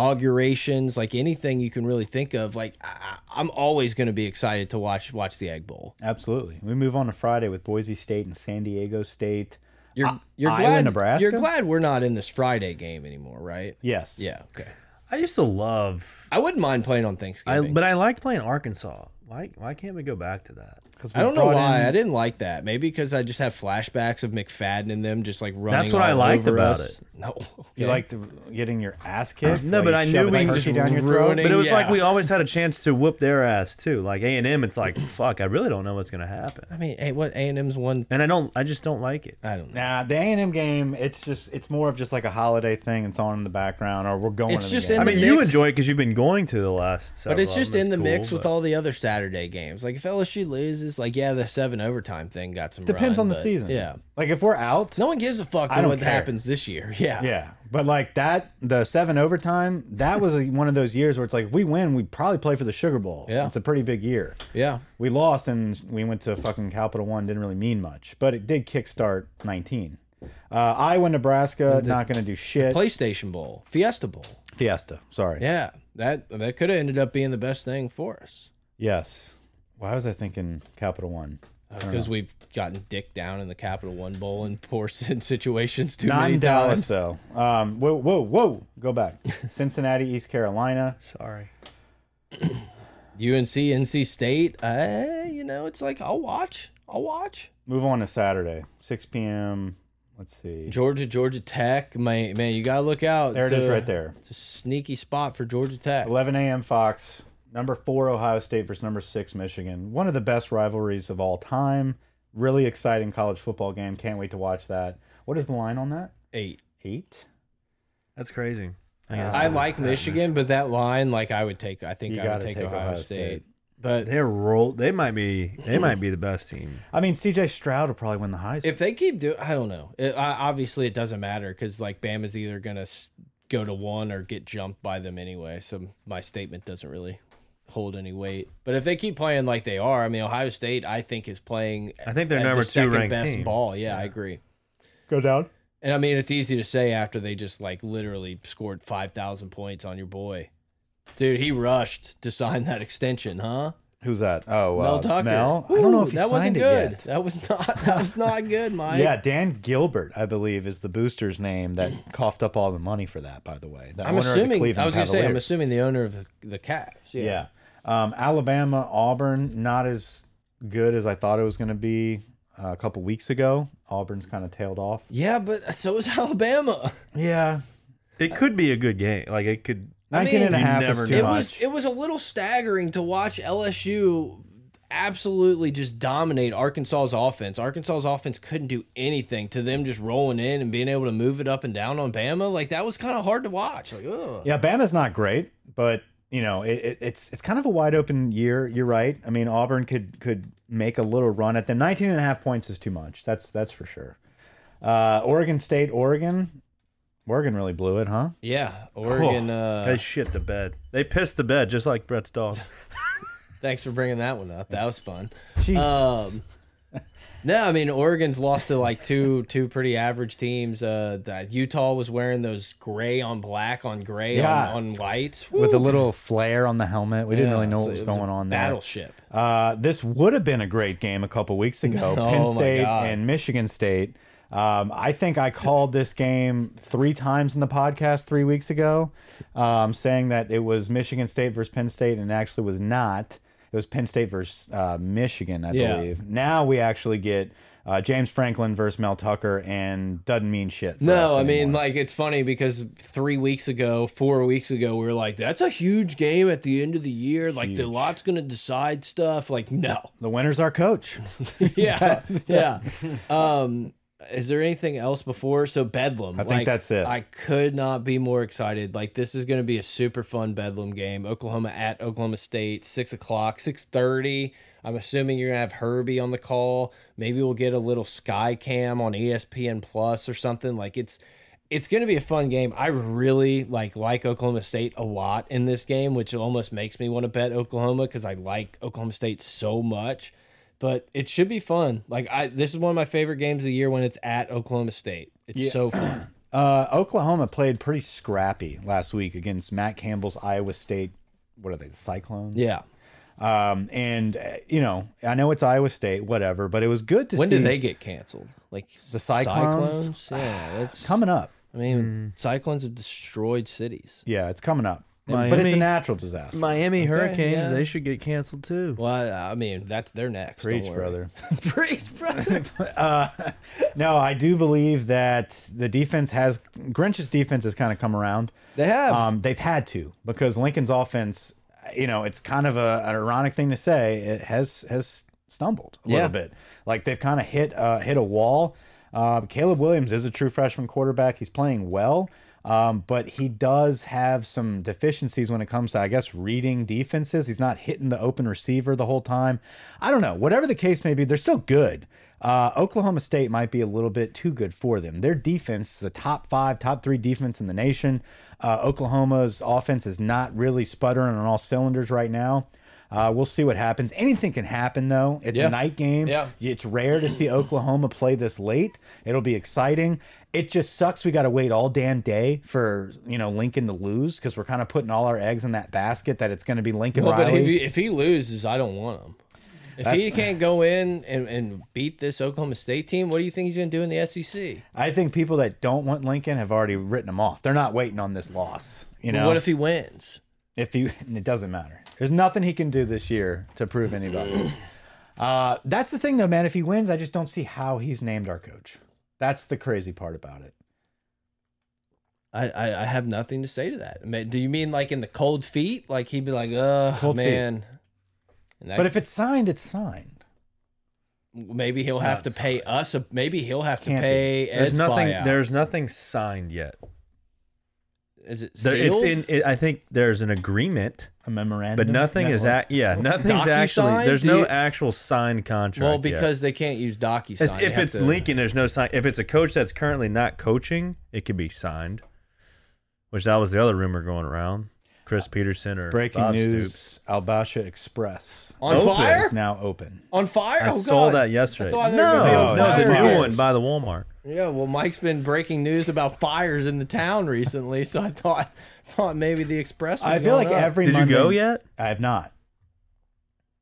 Speaker 1: inaugurations, like anything you can really think of. Like, I, I- I'm always going to be excited to watch watch the Egg Bowl.
Speaker 2: Absolutely. We move on to Friday with Boise State and San Diego State.
Speaker 1: You're
Speaker 2: I-
Speaker 1: you're
Speaker 2: Iowa,
Speaker 1: glad
Speaker 2: Nebraska?
Speaker 1: You're glad we're not in this Friday game anymore, right?
Speaker 2: Yes.
Speaker 1: Yeah. Okay.
Speaker 3: I used to love.
Speaker 1: I wouldn't mind playing on
Speaker 3: I
Speaker 1: Thanksgiving.
Speaker 3: but I liked playing Arkansas. Why why can't we go back to that?
Speaker 2: Because
Speaker 1: I don't know why I didn't like that. Maybe because I just have flashbacks of McFadden and them just like running.
Speaker 3: what I
Speaker 1: all
Speaker 3: liked
Speaker 1: over
Speaker 3: about
Speaker 1: us.
Speaker 3: it.
Speaker 1: No,
Speaker 2: You
Speaker 1: okay.
Speaker 2: like the, getting your ass kicked?
Speaker 3: No,
Speaker 2: Like
Speaker 3: but I
Speaker 2: you
Speaker 3: knew
Speaker 2: shoving
Speaker 3: we
Speaker 2: a
Speaker 3: could
Speaker 1: just
Speaker 2: turkey down your throat?
Speaker 1: ruin it.
Speaker 3: But it was like
Speaker 1: Yeah.
Speaker 3: we always had a chance to whoop their ass too. Like A and M, it's like fuck. I really don't know what's gonna happen,
Speaker 1: I mean, hey, what A and M's one?
Speaker 3: and I don't. I just don't like it.
Speaker 1: I don't know.
Speaker 2: Nah, the A&M game, it's just it's more of just like a holiday thing. It's on in the background or we're going
Speaker 1: It's
Speaker 2: to the
Speaker 1: just
Speaker 2: game.
Speaker 1: in
Speaker 3: I
Speaker 1: the
Speaker 3: mean, you
Speaker 1: mix.
Speaker 3: enjoy it because you've been going to the last. Several
Speaker 1: But it's just in the mix with
Speaker 3: all.
Speaker 1: all the other Saturday games. Like if LSU loses, like yeah, the seven overtime thing got some.
Speaker 2: depends
Speaker 1: run,
Speaker 2: on the
Speaker 1: but,
Speaker 2: season.
Speaker 1: Yeah,
Speaker 2: Like if we're out,
Speaker 1: no one gives a fuck
Speaker 2: I
Speaker 1: on
Speaker 2: don't
Speaker 1: what
Speaker 2: care.
Speaker 1: happens this year. Yeah,
Speaker 2: Yeah, but like that, the seven overtime, that was a, one of those years where it's like, if we win, we probably play for the Sugar Bowl.
Speaker 1: Yeah.
Speaker 2: it's a pretty big year.
Speaker 1: yeah.
Speaker 2: We lost and we went to fucking Capital One. Didn't really mean much, but it did kickstart nineteen. Uh, Iowa, Nebraska, not gonna do shit.
Speaker 1: PlayStation Bowl, Fiesta Bowl.
Speaker 2: Fiesta, sorry.
Speaker 1: Yeah, that that could have ended up being the best thing for us
Speaker 2: Yes. Why was I thinking Capital One?
Speaker 1: because uh, we've gotten dick down in the Capital One Bowl in poor sin- situations too
Speaker 2: Not
Speaker 1: many
Speaker 2: in Dallas
Speaker 1: times.
Speaker 2: though. Um, whoa, whoa, whoa! Go back. Cincinnati, East Carolina.
Speaker 3: Sorry.
Speaker 1: UNC, NC State. Uh, you know, it's like I'll watch. I'll watch.
Speaker 2: Move on to Saturday, six p.m. Let's see.
Speaker 1: Georgia, Georgia Tech. Man, man, you gotta look out.
Speaker 2: There it
Speaker 1: It's
Speaker 2: is,
Speaker 1: a-
Speaker 2: right there.
Speaker 1: It's a sneaky spot for Georgia Tech.
Speaker 2: 11 a.m. Fox, number four Ohio State versus number six Michigan. One of the best rivalries of all time. Really exciting college football game. Can't wait to watch that. What is the line on that?
Speaker 1: Eight.
Speaker 2: Eight.
Speaker 3: That's crazy.
Speaker 2: guess
Speaker 1: I like Michigan, but that line, like, I would take. I think
Speaker 2: You
Speaker 1: I would
Speaker 2: gotta
Speaker 1: take,
Speaker 2: take
Speaker 1: Ohio,
Speaker 2: Ohio
Speaker 1: State.
Speaker 2: State.
Speaker 1: But
Speaker 3: They're roll. They might be. They might be the best team.
Speaker 2: I mean, C.J. Stroud will probably win the Heisman.
Speaker 1: if they keep doing, I don't know. It, I, obviously, it doesn't matter because like Bama's either gonna s go to one or get jumped by them anyway. So my statement doesn't really hold any weight. But if they keep playing like they are, I mean, Ohio State, I think is playing.
Speaker 3: I think they're
Speaker 1: at
Speaker 3: number
Speaker 1: the
Speaker 3: two
Speaker 1: second
Speaker 3: ranked
Speaker 1: best
Speaker 3: team.
Speaker 1: ball. Yeah, I agree.
Speaker 2: Go down.
Speaker 1: And I mean, it's easy to say after they just like literally scored 5,000 points on your boy. Dude, he rushed to sign that extension, huh?
Speaker 2: Who's that? Oh, uh,
Speaker 1: Mel Tucker.
Speaker 2: Mel? I don't know
Speaker 1: Ooh,
Speaker 2: if he
Speaker 1: that
Speaker 2: signed
Speaker 1: wasn't
Speaker 2: it
Speaker 1: good.
Speaker 2: yet.
Speaker 1: That was not that was not good, Mike.
Speaker 2: Yeah, Dan Gilbert, I believe, is the booster's name that coughed up all the money for that. By the way, the
Speaker 1: I'm
Speaker 2: owner of the
Speaker 1: assuming I
Speaker 2: Cleveland
Speaker 1: was going to say I'm
Speaker 2: Cavaliers.
Speaker 1: assuming the owner of the, the Cavs. Yeah.
Speaker 2: Yeah. Um, Alabama, Auburn, not as good as I thought it was going to be uh, a couple weeks ago. Auburn's kind of tailed off.
Speaker 1: Yeah, but so is Alabama.
Speaker 2: Yeah.
Speaker 3: It could be a good game. Like it could.
Speaker 2: 19 and a
Speaker 3: mean, you
Speaker 2: half
Speaker 3: never
Speaker 2: is
Speaker 3: know.
Speaker 2: too
Speaker 1: it
Speaker 2: much.
Speaker 1: was it was a little staggering to watch LSU absolutely just dominate Arkansas's offense. Arkansas's offense couldn't do anything to them just rolling in and being able to move it up and down on Bama. Like that was kind of hard to watch. Like, ugh.
Speaker 2: yeah, Bama's not great, but you know, it, it, it's it's kind of a wide open year. You're right. I mean, Auburn could could make a little run at them. 19 and a half points is too much. That's that's for sure. Uh, Oregon State, Oregon. Oregon really blew it, huh?
Speaker 1: yeah, Oregon.
Speaker 3: Oh,
Speaker 1: uh,
Speaker 3: they shit the bed. They pissed the bed just like Brett's dog.
Speaker 1: Thanks for bringing that one up. That was fun.
Speaker 2: Jeez.
Speaker 1: Um, no, I mean Oregon's lost to like two two pretty average teams. Uh, that Utah was wearing those gray on black on gray
Speaker 2: Yeah.
Speaker 1: on, on whites
Speaker 2: with a little flare on the helmet. We didn't really know
Speaker 1: Yeah,
Speaker 2: what
Speaker 1: so
Speaker 2: was
Speaker 1: it a
Speaker 2: going on there.
Speaker 1: Battleship.
Speaker 2: Uh, this would have been a great game a couple weeks ago. Penn
Speaker 1: Oh my
Speaker 2: State
Speaker 1: God.
Speaker 2: and Michigan State. Um, I think I called this game three times in the podcast three weeks ago, um, saying that it was Michigan State versus Penn State, and it actually was not. It was Penn State versus uh, Michigan, I
Speaker 1: Yeah.
Speaker 2: believe. Now we actually get uh, James Franklin versus Mel Tucker, and doesn't mean shit. for us
Speaker 1: No, I
Speaker 2: anymore.
Speaker 1: mean, like, it's funny because three weeks ago, four weeks ago, we were like, that's a huge game at the end of the year. Like, the lot's going to decide stuff. Like, no.
Speaker 2: the winner's our coach.
Speaker 1: Yeah. yeah. Um, is there anything else before? So, Bedlam. I
Speaker 2: think that's it.
Speaker 1: I could not be more excited. Like, this is going to be a super fun Bedlam game. Oklahoma at Oklahoma State, 6 o'clock, 6.30. I'm assuming you're going to have Herbie on the call. Maybe we'll get a little Sky Cam on E ESPN Plus or something. Like, it's it's going to be a fun game. I really like like Oklahoma State a lot in this game, which almost makes me want to bet Oklahoma because I like Oklahoma State so much. But it should be fun. Like I, this is one of my favorite games of the year when it's at Oklahoma State. It's so fun.
Speaker 2: Uh, Oklahoma played pretty scrappy last week against Matt Campbell's Iowa State. What are they? Cyclones.
Speaker 1: Yeah.
Speaker 2: Um, and uh, you know, I know it's Iowa State, whatever, but it was good to
Speaker 1: When
Speaker 2: see
Speaker 1: did they get canceled? Like
Speaker 2: The Cyclones? Hmm.
Speaker 1: Yeah, that's.
Speaker 2: coming up.
Speaker 1: I mean, cyclones have destroyed cities.
Speaker 2: Yeah, it's coming up. But it's a
Speaker 3: Miami.
Speaker 2: natural disaster.
Speaker 3: Miami Hurricanes,
Speaker 1: yeah.
Speaker 3: they should get canceled too.
Speaker 1: Well, I, I mean, that's they're next. don't
Speaker 2: Preach,
Speaker 1: worry.
Speaker 2: brother.
Speaker 1: Preach, brother.
Speaker 2: No, I do believe that the defense has Grinch's defense has kind of come around.
Speaker 1: They have.
Speaker 2: Um, they've had to because Lincoln's offense, you know, it's kind of a, an ironic thing to say. It has has stumbled a
Speaker 1: Yeah.
Speaker 2: little bit. Like they've kind of hit uh, hit a wall. Uh, Caleb Williams is a true freshman quarterback. He's playing well, um, but he does have some deficiencies when it comes to, I guess, reading defenses. He's not hitting the open receiver the whole time. I don't know. Whatever the case may be, they're still good. Uh, Oklahoma State might be a little bit too good for them. Their defense is the top five, top three defense in the nation. Uh, Oklahoma's offense is not really sputtering on all cylinders right now. Uh, we'll see what happens. Anything can happen, though. It's
Speaker 1: Yeah.
Speaker 2: a night game.
Speaker 1: Yeah.
Speaker 2: It's rare to see Oklahoma play this late. It'll be exciting. It just sucks we got to wait all damn day for you know Lincoln to lose because we're kind of putting all our eggs in that basket that it's going to be Lincoln
Speaker 1: Well, Oh, but
Speaker 2: Riley.
Speaker 1: if he, if he loses, I don't want him. If he can't go in and, and beat this Oklahoma State team, what do you think he's going to do in the E SEC?
Speaker 2: I think people that don't want Lincoln have already written him off. They're not waiting on this loss. You know,
Speaker 1: What if he wins?
Speaker 2: if you it doesn't matter there's nothing he can do this year to prove anybody uh that's the thing though man if he wins i just don't see how he's named our coach that's the crazy part about it
Speaker 1: I, I, I have nothing to say to that. I mean, do you mean like in the cold feet? Like he'd be like, oh,
Speaker 2: Cold feet.
Speaker 1: man. And that,
Speaker 2: but if it's signed it's signed
Speaker 1: maybe he'll
Speaker 2: It's
Speaker 1: have
Speaker 2: not
Speaker 1: to pay us. A, maybe he'll have to
Speaker 2: Can't be.
Speaker 1: pay.
Speaker 3: There's
Speaker 1: Ed's
Speaker 3: nothing.
Speaker 1: buyout.
Speaker 3: There's nothing signed yet.
Speaker 1: Is it
Speaker 3: There, it's
Speaker 1: sealed?
Speaker 3: in. It, I think there's an agreement,
Speaker 2: a memorandum
Speaker 3: but nothing is
Speaker 2: network.
Speaker 3: at. Yeah, nothing's actually.
Speaker 1: DocuSign?
Speaker 3: There's
Speaker 1: Do
Speaker 3: no
Speaker 1: you-
Speaker 3: actual signed contract.
Speaker 1: Well,
Speaker 3: yet.
Speaker 1: because they can't use DocuSign.
Speaker 3: As
Speaker 1: They
Speaker 3: if
Speaker 1: have
Speaker 3: it's
Speaker 1: to-
Speaker 3: Lincoln, there's no sign. If it's a coach that's currently not coaching, it could be signed. Which that was the other rumor going around. Chris Peterson or
Speaker 2: breaking
Speaker 3: Bob
Speaker 2: news
Speaker 3: Stoops.
Speaker 2: Al albasha express
Speaker 1: On
Speaker 2: open
Speaker 1: fire?
Speaker 2: is now open
Speaker 1: on fire.
Speaker 3: I
Speaker 1: oh,
Speaker 3: saw
Speaker 1: God.
Speaker 3: that yesterday.
Speaker 1: I thought they were
Speaker 2: No,
Speaker 1: gonna be on
Speaker 2: no,
Speaker 1: fire.
Speaker 3: the new
Speaker 2: fires.
Speaker 3: one by the Walmart.
Speaker 1: Yeah, well, Mike's been breaking news about fires in the town recently, so I thought thought maybe the express. Was
Speaker 2: i feel
Speaker 1: going
Speaker 2: like
Speaker 1: up.
Speaker 2: every
Speaker 3: Did you
Speaker 2: Monday-
Speaker 3: go yet?
Speaker 2: i have not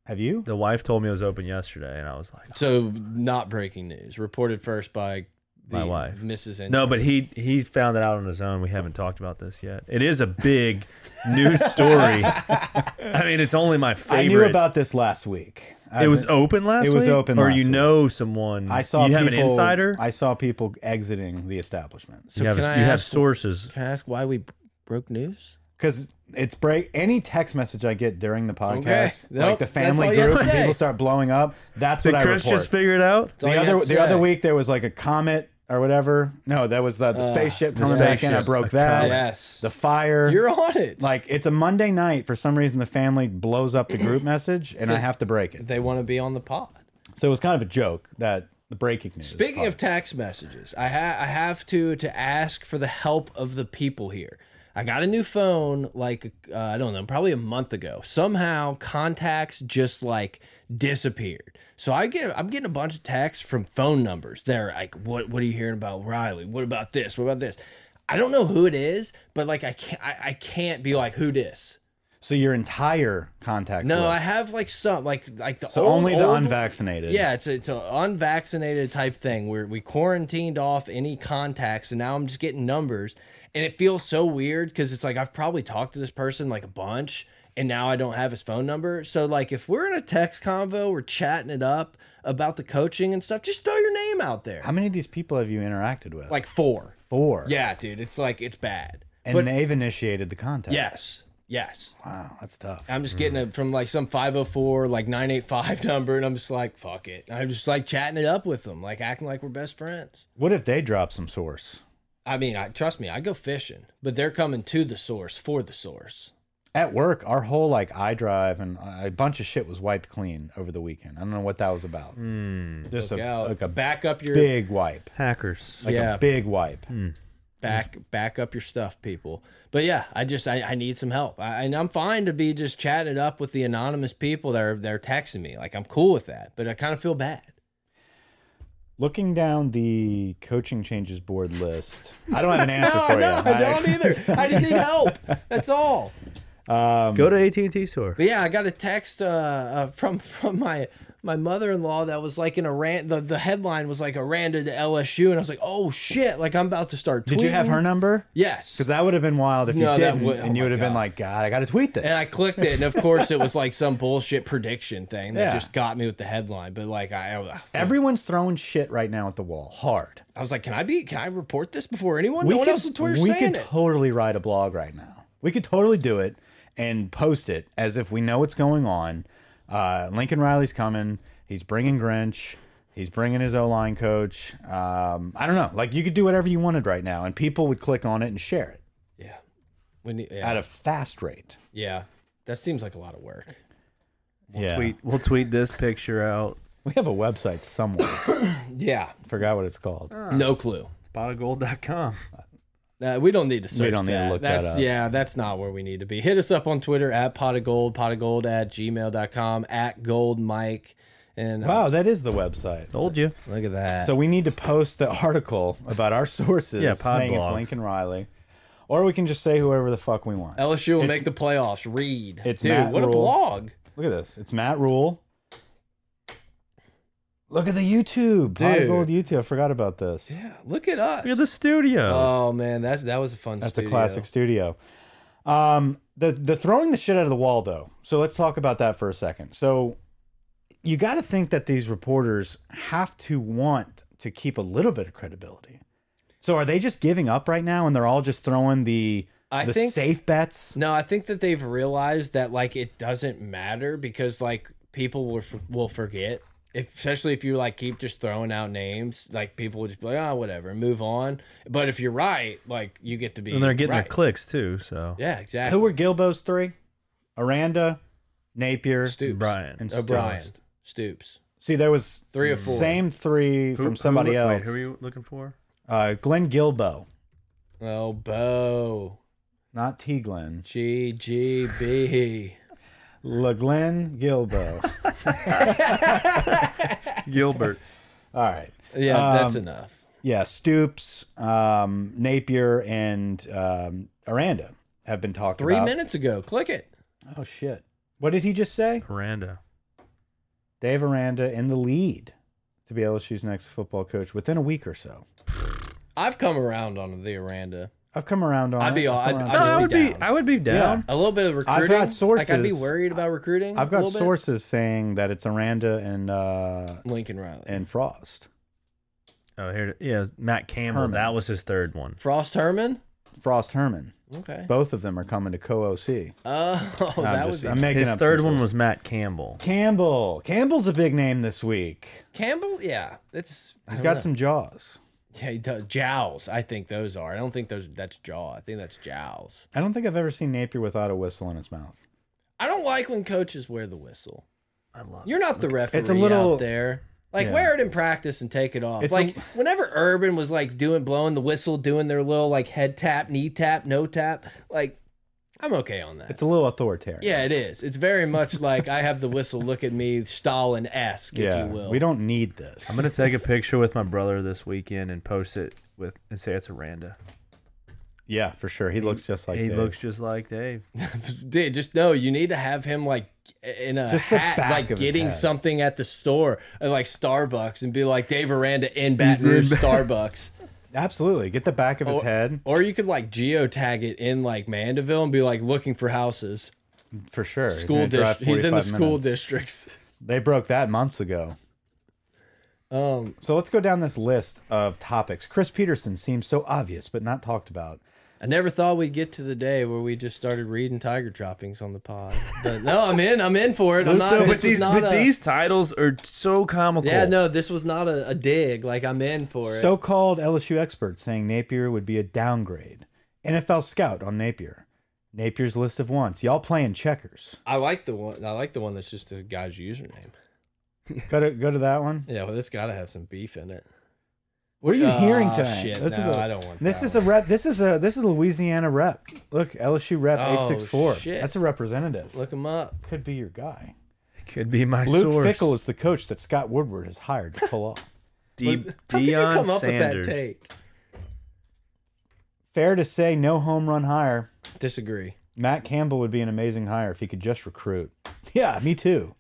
Speaker 2: have you
Speaker 3: The wife told me it was open yesterday, and I was like,
Speaker 1: so not breaking news reported first by the
Speaker 3: My wife.
Speaker 1: Mrs. N
Speaker 3: No, but he he found it out on his own. We haven't talked about this yet. It is a big news story. I mean, it's only my favorite.
Speaker 2: i knew about this last week
Speaker 3: it was open last
Speaker 2: It was
Speaker 3: week?
Speaker 2: open
Speaker 3: or
Speaker 2: last
Speaker 3: you
Speaker 2: week.
Speaker 3: know someone.
Speaker 2: i saw
Speaker 3: you
Speaker 2: people,
Speaker 3: have an insider.
Speaker 2: i saw people exiting the establishment
Speaker 1: So
Speaker 3: you have,
Speaker 1: can I
Speaker 3: you have
Speaker 1: ask-
Speaker 3: sources.
Speaker 1: Can I ask why we broke news?
Speaker 2: Because it's break any text message I get during the podcast,
Speaker 1: Nope,
Speaker 2: like the
Speaker 1: that's
Speaker 2: family
Speaker 1: all you have
Speaker 2: group,
Speaker 1: to
Speaker 2: and
Speaker 1: say.
Speaker 2: people start blowing up. That's what
Speaker 3: Did
Speaker 2: I
Speaker 3: Chris
Speaker 2: report.
Speaker 3: just figure it out?
Speaker 1: all
Speaker 2: the
Speaker 1: you have
Speaker 2: other
Speaker 1: to
Speaker 2: the other
Speaker 1: say.
Speaker 2: week there was like a comet or whatever. No, that was the, the spaceship coming back in. I
Speaker 3: spaceship.
Speaker 2: broke
Speaker 3: A
Speaker 2: that.
Speaker 3: comet.
Speaker 1: Yes.
Speaker 2: The fire.
Speaker 1: You're on it.
Speaker 2: like it's a Monday night. For some reason, the family blows up the group message, and I have to break it.
Speaker 1: They want to be on the pod.
Speaker 2: So it was kind of a joke that the breaking news.
Speaker 1: Speaking of text messages, I ha I have to to ask for the help of the people here. I I got a new phone like uh, I don't know, probably a month ago. Somehow contacts just like disappeared. So I get I'm getting a bunch of texts from phone numbers. They're like, "What what are you hearing about Riley? What about this? What about this?" I don't know who it is, but like I can't I, I can't be like who this.
Speaker 2: So your entire contact
Speaker 1: No,
Speaker 2: list.
Speaker 1: I have like some like like the
Speaker 2: so
Speaker 1: old,
Speaker 2: only the
Speaker 1: old-
Speaker 2: unvaccinated.
Speaker 1: yeah, it's a, it's an unvaccinated type thing where we quarantined off any contacts, and now I'm just getting numbers, and it feels so weird because it's like I've probably talked to this person like a bunch, and now I don't have his phone number. So like, if we're in a text convo, we're chatting it up about the coaching and stuff. Just throw your name out there.
Speaker 2: How many of these people have you interacted with?
Speaker 1: like four.
Speaker 2: four.
Speaker 1: Yeah, dude, it's like it's bad.
Speaker 2: And they've initiated the contact.
Speaker 1: Yes, yes.
Speaker 2: Wow, that's tough.
Speaker 1: I'm just getting it from like some 504, like 985 number, and I'm just like, fuck it. I'm just like chatting it up with them, like acting like we're best friends.
Speaker 2: What if they drop some source?
Speaker 1: I mean, I trust me, I go fishing, but they're coming to the source for the source.
Speaker 2: At work, our whole like iDrive and a bunch of shit was wiped clean over the weekend. I don't know what that was about. Just
Speaker 1: Look
Speaker 2: a,
Speaker 1: out.
Speaker 2: like a
Speaker 1: back up your
Speaker 2: big wipe.
Speaker 3: Hackers.
Speaker 2: Like
Speaker 1: Yeah.
Speaker 2: a big wipe.
Speaker 1: back back up your stuff, people. But yeah, I just I, I need some help. I, and I'm fine to be just chatting it up with the anonymous people that are they're texting me. Like I'm cool with that, but I kind of feel bad.
Speaker 2: Looking down the coaching changes board list, I don't have an answer for you.
Speaker 1: I don't either. I just need help. That's all.
Speaker 2: Um,
Speaker 3: Go to AT and T store.
Speaker 1: But yeah, I got a text uh, uh, from from my my mother in law that was like in a rant. The, the headline was like a random to LSU, and I was like, oh shit! Like I'm about to start. Tweeting.
Speaker 2: Did you have her number?
Speaker 1: Yes.
Speaker 2: Because that would have been wild if
Speaker 1: No,
Speaker 2: you
Speaker 1: that
Speaker 2: didn't,
Speaker 1: would- oh
Speaker 2: and you
Speaker 1: my
Speaker 2: would have been
Speaker 1: God.
Speaker 2: like, God, I got to tweet this.
Speaker 1: And I clicked it, and of course it was like some bullshit prediction thing that
Speaker 2: Yeah.
Speaker 1: just got me with the headline. But like I, I,
Speaker 2: Everyone's throwing shit right now at the wall, hard.
Speaker 1: I was like, can I be? Can I report this before anyone? no one else on Twitter's
Speaker 2: we
Speaker 1: saying
Speaker 2: could
Speaker 1: it.
Speaker 2: totally write a blog right now. We could totally do it and post it as if we know what's going on. Uh, Lincoln Riley's coming. He's bringing Grinch. He's bringing his O line coach. Um, I don't know. Like you could do whatever you wanted right now, and people would click on it and share it
Speaker 1: Yeah. We need,
Speaker 2: at
Speaker 1: yeah,
Speaker 2: a fast rate.
Speaker 1: yeah. That seems like a lot of work.
Speaker 2: yeah,
Speaker 3: Tweet. We'll tweet this picture out.
Speaker 2: we have a website somewhere.
Speaker 1: Yeah.
Speaker 2: Forgot what it's called.
Speaker 3: Ah.
Speaker 1: No clue.
Speaker 3: Spotofgold.com.
Speaker 1: Uh, we don't need to search.
Speaker 2: don't need to
Speaker 1: that.
Speaker 2: look that
Speaker 1: that's,
Speaker 2: up.
Speaker 1: Yeah, that's not where we need to be. Hit us up on Twitter at pot of gold, pot of gold at gmail.com, at gold mike. And uh,
Speaker 2: Wow, that is the website.
Speaker 3: Told you.
Speaker 1: look at that.
Speaker 2: So we need to post the article about our sources
Speaker 3: Yeah, pod
Speaker 2: saying it's
Speaker 3: blogs.
Speaker 2: Lincoln Riley, or we can just say whoever the fuck we want.
Speaker 1: LSU will make the playoffs. Read.
Speaker 2: it's
Speaker 1: Dude,
Speaker 2: Matt
Speaker 1: what a
Speaker 2: Rule.
Speaker 1: blog.
Speaker 2: Look at this. It's Matt Rule. Look at the YouTube. Pot
Speaker 1: Dude.
Speaker 2: of Gold YouTube. I forgot about this.
Speaker 1: Yeah, look at us.
Speaker 3: You're the studio.
Speaker 1: oh, man, that, that was a fun
Speaker 2: That's
Speaker 1: studio.
Speaker 2: a classic studio. Um, the the throwing the shit out of the wall though. So let's talk about that for a second. So you got to think that these reporters have to want to keep a little bit of credibility. So are they just giving up right now, and they're all just throwing the
Speaker 1: I
Speaker 2: the
Speaker 1: think-
Speaker 2: safe bets?
Speaker 1: No, I think that they've realized that like it doesn't matter because like people will f will forget. If, especially if you like keep just throwing out names, like people will just be like, oh, whatever, and move on. But if you're right, like you get to be
Speaker 3: and they're getting
Speaker 1: right.
Speaker 3: their clicks too. So
Speaker 1: Yeah, exactly.
Speaker 2: Who were Gilbo's three? Aranda, Napier,
Speaker 1: Stoops? Oh,
Speaker 3: Brian.
Speaker 2: and
Speaker 1: O'Brien.
Speaker 2: Stoops.
Speaker 1: Stoops.
Speaker 2: See, there was
Speaker 1: Three or four.
Speaker 2: Same three
Speaker 3: Who-
Speaker 2: from somebody
Speaker 3: who,
Speaker 2: else.
Speaker 3: Wait, who are you looking for?
Speaker 2: Uh, Glenn Gilbo,
Speaker 1: Oh, Bo.
Speaker 2: not T. Glenn.
Speaker 1: G G B.
Speaker 2: Le Glenn Gilbo.
Speaker 3: Gilbert.
Speaker 2: All right.
Speaker 1: Yeah, that's
Speaker 2: Um,
Speaker 1: enough.
Speaker 2: Yeah, Stoops, um, Napier, and um, Aranda have been talked
Speaker 1: Three
Speaker 2: about.
Speaker 1: minutes ago. Click it.
Speaker 2: Oh shit! What did he just say?
Speaker 3: Miranda.
Speaker 2: Dave Aranda in the lead to be LSU's next football coach within a week or so.
Speaker 1: I've come around on the Aranda.
Speaker 2: I've come around on.
Speaker 1: I'd be
Speaker 2: it.
Speaker 1: all-
Speaker 2: I've come
Speaker 1: I'd-
Speaker 2: around
Speaker 1: I'd
Speaker 2: on it.
Speaker 3: No,
Speaker 1: just
Speaker 3: I
Speaker 1: be
Speaker 3: would be,
Speaker 1: down.
Speaker 3: I would be down.
Speaker 1: A little bit of
Speaker 2: got
Speaker 1: recruiting. Like I'd be
Speaker 2: sources.
Speaker 1: worried about recruiting.
Speaker 2: I've
Speaker 1: a
Speaker 2: got
Speaker 1: little bit.
Speaker 2: sources saying that it's Aranda and uh,
Speaker 1: Lincoln Riley.
Speaker 2: and Frost.
Speaker 3: Oh, here. it- Yeah, Matt Campbell.
Speaker 2: Herman.
Speaker 3: That was his third one.
Speaker 1: Frost Herman.
Speaker 2: Frost Herman.
Speaker 1: Okay.
Speaker 2: Both of them are coming to co-OC.
Speaker 1: Oh,
Speaker 2: I'm
Speaker 1: that
Speaker 2: just-
Speaker 1: was
Speaker 2: I'm making
Speaker 3: His
Speaker 2: up
Speaker 3: third
Speaker 2: some
Speaker 3: one
Speaker 2: sources.
Speaker 3: was Matt Campbell.
Speaker 2: Campbell. Campbell's a big name this week.
Speaker 1: Campbell. Yeah, it's I
Speaker 2: He's
Speaker 1: don't
Speaker 2: got
Speaker 1: know.
Speaker 2: some jaws.
Speaker 1: yeah, he does. jowls. I think those are. I don't think those. That's jaw. I think that's jowls.
Speaker 2: I don't think I've ever seen Napier without a whistle in his mouth.
Speaker 1: I don't like when coaches wear the whistle.
Speaker 3: I love.
Speaker 1: You're not the referee
Speaker 2: little-
Speaker 1: out there. Like
Speaker 2: Yeah.
Speaker 1: wear it in practice and take it off.
Speaker 2: It's a-
Speaker 1: like whenever Urban was like doing blowing the whistle, doing their little like head tap, knee tap, no tap, like I'm okay on that.
Speaker 2: It's a little authoritarian.
Speaker 1: yeah, it is. It's very much like I have the whistle. Look at me, Stalin esque,
Speaker 2: Yeah,
Speaker 1: if you will.
Speaker 2: we don't need this.
Speaker 3: I'm gonna take a picture with my brother this weekend and post it with and say it's a Randa.
Speaker 2: yeah, for sure. He, looks just like
Speaker 3: he
Speaker 2: Dave.
Speaker 3: looks just like Dave.
Speaker 1: Dude, just no. You need to have him like in a
Speaker 2: Just the
Speaker 1: hat,
Speaker 2: back
Speaker 1: like
Speaker 2: of his
Speaker 1: getting
Speaker 2: hat.
Speaker 1: something at the store, at like Starbucks, and be like Dave Aranda in Baton
Speaker 3: in
Speaker 1: Rouge
Speaker 3: Bat-
Speaker 1: Starbucks.
Speaker 2: absolutely get the back of his
Speaker 1: Or-
Speaker 2: head
Speaker 1: Or you could like geotag it in like Mandeville and be like looking for houses.
Speaker 2: for sure. He's
Speaker 1: School
Speaker 2: gonna drive
Speaker 1: district. He's in the
Speaker 2: 45
Speaker 1: school
Speaker 2: minutes.
Speaker 1: districts.
Speaker 2: They broke that months ago.
Speaker 1: Um,
Speaker 2: So let's go down this list of topics. Chris Peterson seems so obvious, but not talked about.
Speaker 1: I never thought we'd get to the day where we just started reading tiger droppings on the pod. But no, I'm in. I'm in for it. I'm not.
Speaker 3: No,
Speaker 1: this
Speaker 3: but
Speaker 1: was
Speaker 3: these
Speaker 1: not
Speaker 3: but
Speaker 1: a,
Speaker 3: these titles are so comical.
Speaker 1: Yeah, no, this was not a, a dig. Like I'm in for it.
Speaker 2: So-called LSU expert saying Napier would be a downgrade. NFL scout on Napier. Napier's list of wants. Y'all playing checkers.
Speaker 1: I like the one. I like the one that's just a guy's username.
Speaker 2: Go to go to that one.
Speaker 1: Yeah, well, this got to have some beef in it.
Speaker 2: What are you hearing
Speaker 1: Ah,
Speaker 2: tonight?
Speaker 1: shit,
Speaker 2: This is
Speaker 1: no,
Speaker 2: a-
Speaker 1: I don't want
Speaker 2: This
Speaker 1: that
Speaker 2: is a rep. This is a this is a Louisiana rep. Look, LSU rep
Speaker 1: Oh,
Speaker 2: eight six four.
Speaker 1: shit.
Speaker 2: That's a representative.
Speaker 1: Look him up.
Speaker 2: Could be your guy.
Speaker 3: could be my
Speaker 2: Luke
Speaker 3: source.
Speaker 2: Fickle is the coach that Scott Woodward has hired to pull off.
Speaker 3: De
Speaker 1: How could you
Speaker 3: Deion
Speaker 1: come up
Speaker 3: Sanders.
Speaker 1: with that take?
Speaker 2: Fair to say, no home run hire.
Speaker 1: Disagree.
Speaker 2: Matt Campbell would be an amazing hire if he could just recruit. Yeah, me too.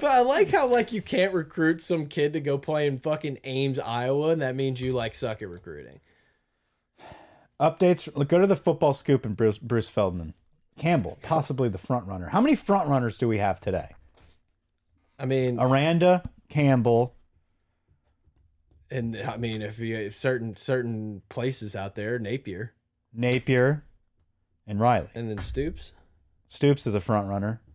Speaker 1: But I like how like you can't recruit some kid to go play in fucking Ames, Iowa, and that means you like suck at recruiting.
Speaker 2: Updates. Look, go to the football scoop and Bruce, Bruce Feldman. Campbell, possibly the front runner. How many front runners do we have today?
Speaker 1: I mean,
Speaker 2: Aranda, Campbell.
Speaker 1: and I mean, if you if certain certain places out there, Napier
Speaker 2: Napier, and Riley.
Speaker 1: and then Stoops.
Speaker 2: Stoops is a front runner.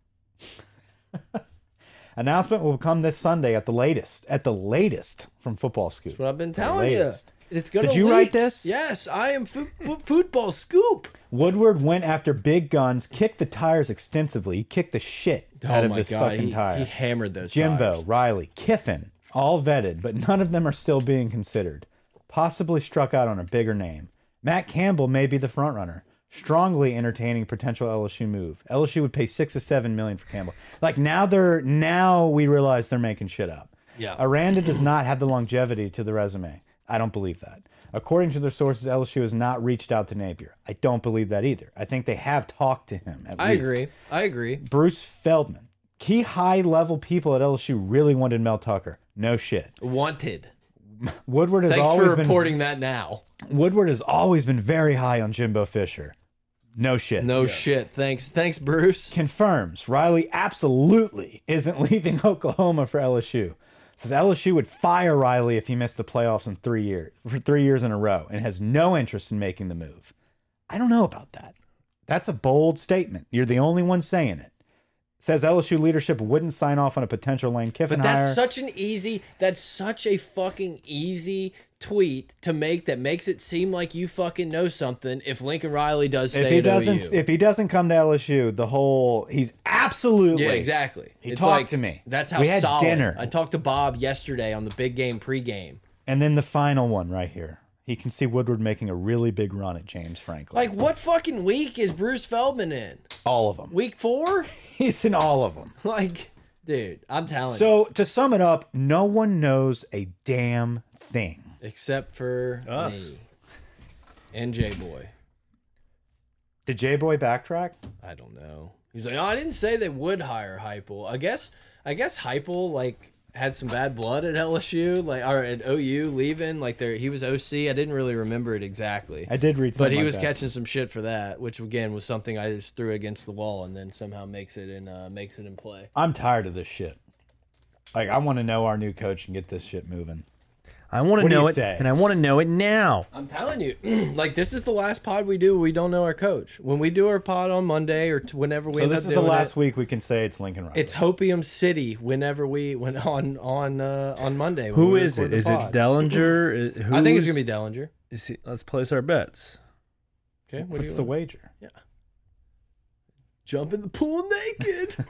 Speaker 2: Announcement will come this Sunday at the latest. At the latest from Football Scoop.
Speaker 1: That's what I've been telling you.
Speaker 2: latest.
Speaker 1: It's gonna.
Speaker 2: Did you
Speaker 1: leak.
Speaker 2: write this?
Speaker 1: Yes, I am fo fo football scoop.
Speaker 2: Woodward went after big guns, kicked the tires extensively. He kicked the shit out of this fucking
Speaker 1: Oh he,
Speaker 2: tire.
Speaker 1: he hammered those.
Speaker 2: Jimbo,
Speaker 1: tires.
Speaker 2: Riley, Kiffin, all vetted, but none of them are still being considered. Possibly struck out on a bigger name. Matt Campbell may be the front runner. Strongly entertaining potential LSU move. LSU would pay six to seven million for Campbell. Like now they're now we realize they're making shit up.
Speaker 1: Yeah.
Speaker 2: Aranda does not have the longevity to the resume. I don't believe that. According to their sources, LSU has not reached out to Napier. I don't believe that either. I think they have talked to him. At
Speaker 1: I
Speaker 2: least.
Speaker 1: agree. I agree.
Speaker 2: Bruce Feldman. Key high level people at LSU really wanted Mel Tucker. No shit.
Speaker 1: Wanted.
Speaker 2: Woodward has
Speaker 1: Thanks
Speaker 2: always
Speaker 1: for reporting that now.
Speaker 2: been Woodward has always been very high on Jimbo Fisher. No shit.
Speaker 1: No shit. Thanks. Thanks, Bruce.
Speaker 2: Confirms Riley absolutely isn't leaving Oklahoma for LSU. Says LSU would fire Riley if he missed the playoffs in three years for three years in a row and has no interest in making the move. I don't know about that. That's a bold statement. You're the only one saying it. Says LSU leadership wouldn't sign off on a potential Lane Kiffin
Speaker 1: But
Speaker 2: hire.
Speaker 1: that's such an easy. That's such a fucking easy tweet to make that makes it seem like you fucking know something. If Lincoln Riley does stay
Speaker 2: if he
Speaker 1: at
Speaker 2: doesn't
Speaker 1: OU.
Speaker 2: if he doesn't come to LSU, the whole he's absolutely
Speaker 1: yeah, exactly.
Speaker 2: He talked to me.
Speaker 1: That's how
Speaker 2: We had
Speaker 1: solid.
Speaker 2: dinner.
Speaker 1: I talked to Bob yesterday on the big game pregame.
Speaker 2: And then the final one right here. He can see Woodward making a really big run at James Franklin.
Speaker 1: Like, what fucking week is Bruce Feldman in?
Speaker 2: all of them.
Speaker 1: Week four?
Speaker 2: He's in all of them.
Speaker 1: Like, dude, I'm telling you.
Speaker 2: So to sum it up, no one knows a damn thing.
Speaker 1: Except for
Speaker 3: Us.
Speaker 1: me and J Boy.
Speaker 2: Did J Boy backtrack?
Speaker 1: I don't know. He's like, "No, I didn't say they would hire Heupel. I guess, I guess Heupel like had some bad blood at LSU, like or at OU leaving. Like there, he was OC. I didn't really remember it exactly,
Speaker 2: I did read
Speaker 1: but
Speaker 2: something.
Speaker 1: he was
Speaker 2: like that.
Speaker 1: catching some shit for that, which again was something I just threw against the wall and then somehow makes it in uh, makes it in play.
Speaker 2: I'm tired of this shit. Like I want to know our new coach and get this shit moving.
Speaker 3: I want to
Speaker 2: What do
Speaker 3: know
Speaker 2: you
Speaker 3: it,
Speaker 2: say?
Speaker 3: and I want to know it now.
Speaker 1: I'm telling you, like this is the last pod we do. We don't know our coach. When we do our pod on Monday or t whenever we
Speaker 2: So
Speaker 1: end
Speaker 2: this
Speaker 1: up
Speaker 2: is the
Speaker 1: doing
Speaker 2: last
Speaker 1: it,
Speaker 2: week we can say it's Lincoln Riley.
Speaker 1: It's Hopium City. Whenever we went on on uh, on Monday, when
Speaker 3: Who
Speaker 1: we
Speaker 3: is it?
Speaker 1: record the
Speaker 3: Is
Speaker 1: pod.
Speaker 3: it Dellinger? Is-
Speaker 1: I think it's
Speaker 3: who's-
Speaker 1: gonna be Dellinger.
Speaker 3: is he- let's place our bets.
Speaker 1: Okay, what do
Speaker 2: What's
Speaker 1: you
Speaker 2: the
Speaker 1: want?
Speaker 2: wager?
Speaker 1: Jump in the pool naked.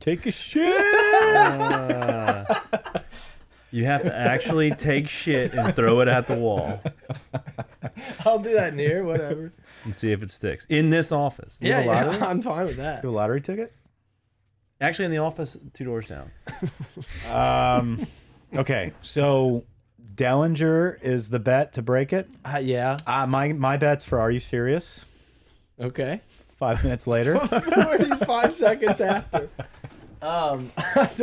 Speaker 2: take a shit.
Speaker 3: Uh, You have to actually take shit and throw it at the wall
Speaker 1: I'll do that in here, whatever.
Speaker 3: and see if it sticks in this office.
Speaker 1: yeah,
Speaker 2: lottery?
Speaker 1: yeah, I'm fine with that.
Speaker 2: Do a lottery ticket.
Speaker 3: Actually, in the office two doors down.
Speaker 2: Okay, so Dellinger is the bet to break it.
Speaker 1: Uh, yeah.
Speaker 2: Uh, my my bets for Are You Serious?
Speaker 1: Okay.
Speaker 2: Five minutes later.
Speaker 1: 45 seconds after. Um,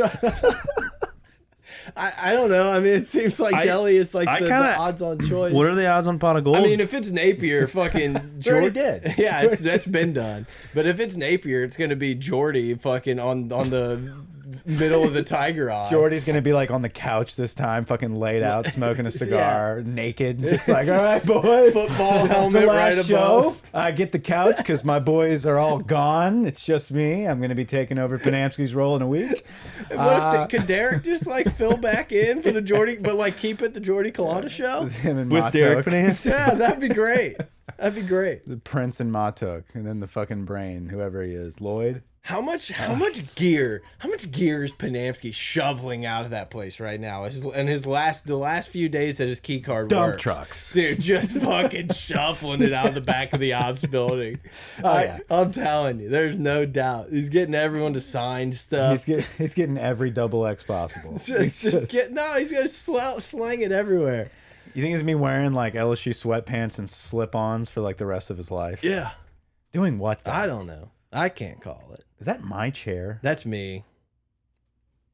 Speaker 1: I, I don't know. I mean, it seems like
Speaker 3: I-
Speaker 1: Delhi is like
Speaker 3: I
Speaker 1: the,
Speaker 3: kinda-
Speaker 1: the odds on choice.
Speaker 3: What are the odds on pot of gold?
Speaker 1: I mean, if it's Napier, fucking
Speaker 2: already
Speaker 1: Jor-
Speaker 2: did.
Speaker 1: Yeah, it's that's been done. But if it's Napier, it's gonna be Jordy fucking on on the middle of the tiger eye.
Speaker 2: Jordy's gonna be like on the couch this time, fucking laid out, smoking a cigar, naked, just like, all right, boys,
Speaker 1: Football
Speaker 2: this is the
Speaker 1: helmet
Speaker 2: last
Speaker 1: right
Speaker 2: show.
Speaker 1: above.
Speaker 2: I get the couch because my boys are all gone. It's just me. I'm gonna be taking over Panamsky's role in a week.
Speaker 1: What
Speaker 2: Uh,
Speaker 1: if the, could Derek just like fill back in for the Jordy, but like keep it the Jordy Colada show?
Speaker 2: Him and
Speaker 3: with
Speaker 2: Matuk,
Speaker 3: Derek Panamsky.
Speaker 1: Yeah, that'd be great. That'd be great.
Speaker 2: the Prince and Matuk, and then the fucking brain, whoever he is, Lloyd.
Speaker 1: How much? How much gear? How much gear is Panamsky shoveling out of that place right now? His, and his last, the last few days at his key card
Speaker 2: Dump
Speaker 1: works.
Speaker 2: trucks.
Speaker 1: dude, just fucking shuffling it out of the back of the ops building. I,
Speaker 2: Oh, yeah.
Speaker 1: I'm telling you, there's no doubt. He's getting everyone to sign
Speaker 2: He's,
Speaker 1: stuff.
Speaker 2: get, he's getting every double X possible.
Speaker 1: Uh, just, just get no. He's gonna sl- slang it everywhere.
Speaker 2: You think he's gonna be wearing like LSU sweatpants and slip-ons for like the rest of his life?
Speaker 1: Yeah,
Speaker 2: Doing what? though?
Speaker 1: I don't know. I can't call it.
Speaker 2: Is that my chair?
Speaker 1: That's me.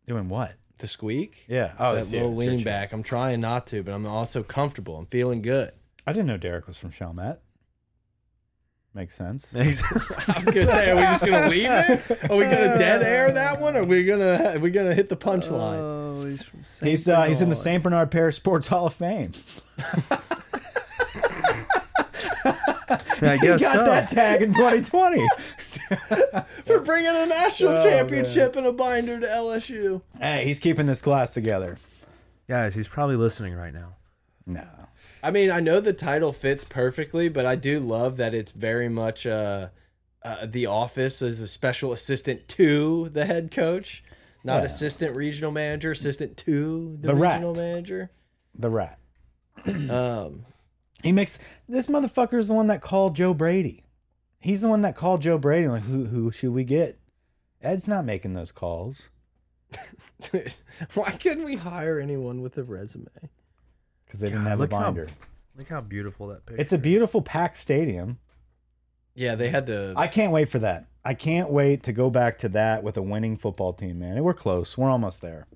Speaker 2: Doing what?
Speaker 1: The squeak.
Speaker 2: Yeah.
Speaker 1: Oh,
Speaker 2: that's
Speaker 1: that
Speaker 2: you.
Speaker 1: little
Speaker 2: It's your
Speaker 1: lean
Speaker 2: chair.
Speaker 1: back. I'm trying not to, but I'm also comfortable. I'm feeling good.
Speaker 2: I didn't know Derek was from Chalmette. Makes sense.
Speaker 1: I was gonna say, are we just gonna leave it? Are we gonna dead air that one? Or are we gonna are we gonna hit the punchline?
Speaker 3: oh, he's from St.
Speaker 2: He's uh, he's in the
Speaker 3: Bernard.
Speaker 2: St. Bernard Parish Sports Hall of Fame.
Speaker 3: I
Speaker 2: He
Speaker 3: guess
Speaker 2: got
Speaker 3: so.
Speaker 2: that tag in 2020.
Speaker 1: We're bringing a national
Speaker 2: Oh,
Speaker 1: championship and a binder to LSU.
Speaker 2: hey, he's keeping this class together.
Speaker 3: Guys, he's probably listening right now.
Speaker 2: No.
Speaker 1: I mean, I know the title fits perfectly, but I do love that it's very much uh, uh, the office as a special assistant to the head coach, not
Speaker 2: Yeah.
Speaker 1: assistant regional manager, assistant to the,
Speaker 2: The rat.
Speaker 1: regional manager.
Speaker 2: The rat.
Speaker 1: Um,
Speaker 2: He makes this motherfucker's the one that called Joe Brady. He's the one that called Joe Brady. Like, who who should we get? Ed's not making those calls
Speaker 1: why couldn't we hire anyone with a resume?
Speaker 2: because they didn't
Speaker 3: God,
Speaker 2: have a
Speaker 3: look how-
Speaker 2: binder.
Speaker 3: Look how beautiful that picture.
Speaker 2: It's a beautiful packed stadium.
Speaker 1: Yeah, they had to.
Speaker 2: I can't wait for that. I can't wait to go back to that with a winning football team, man. We're close. We're almost there.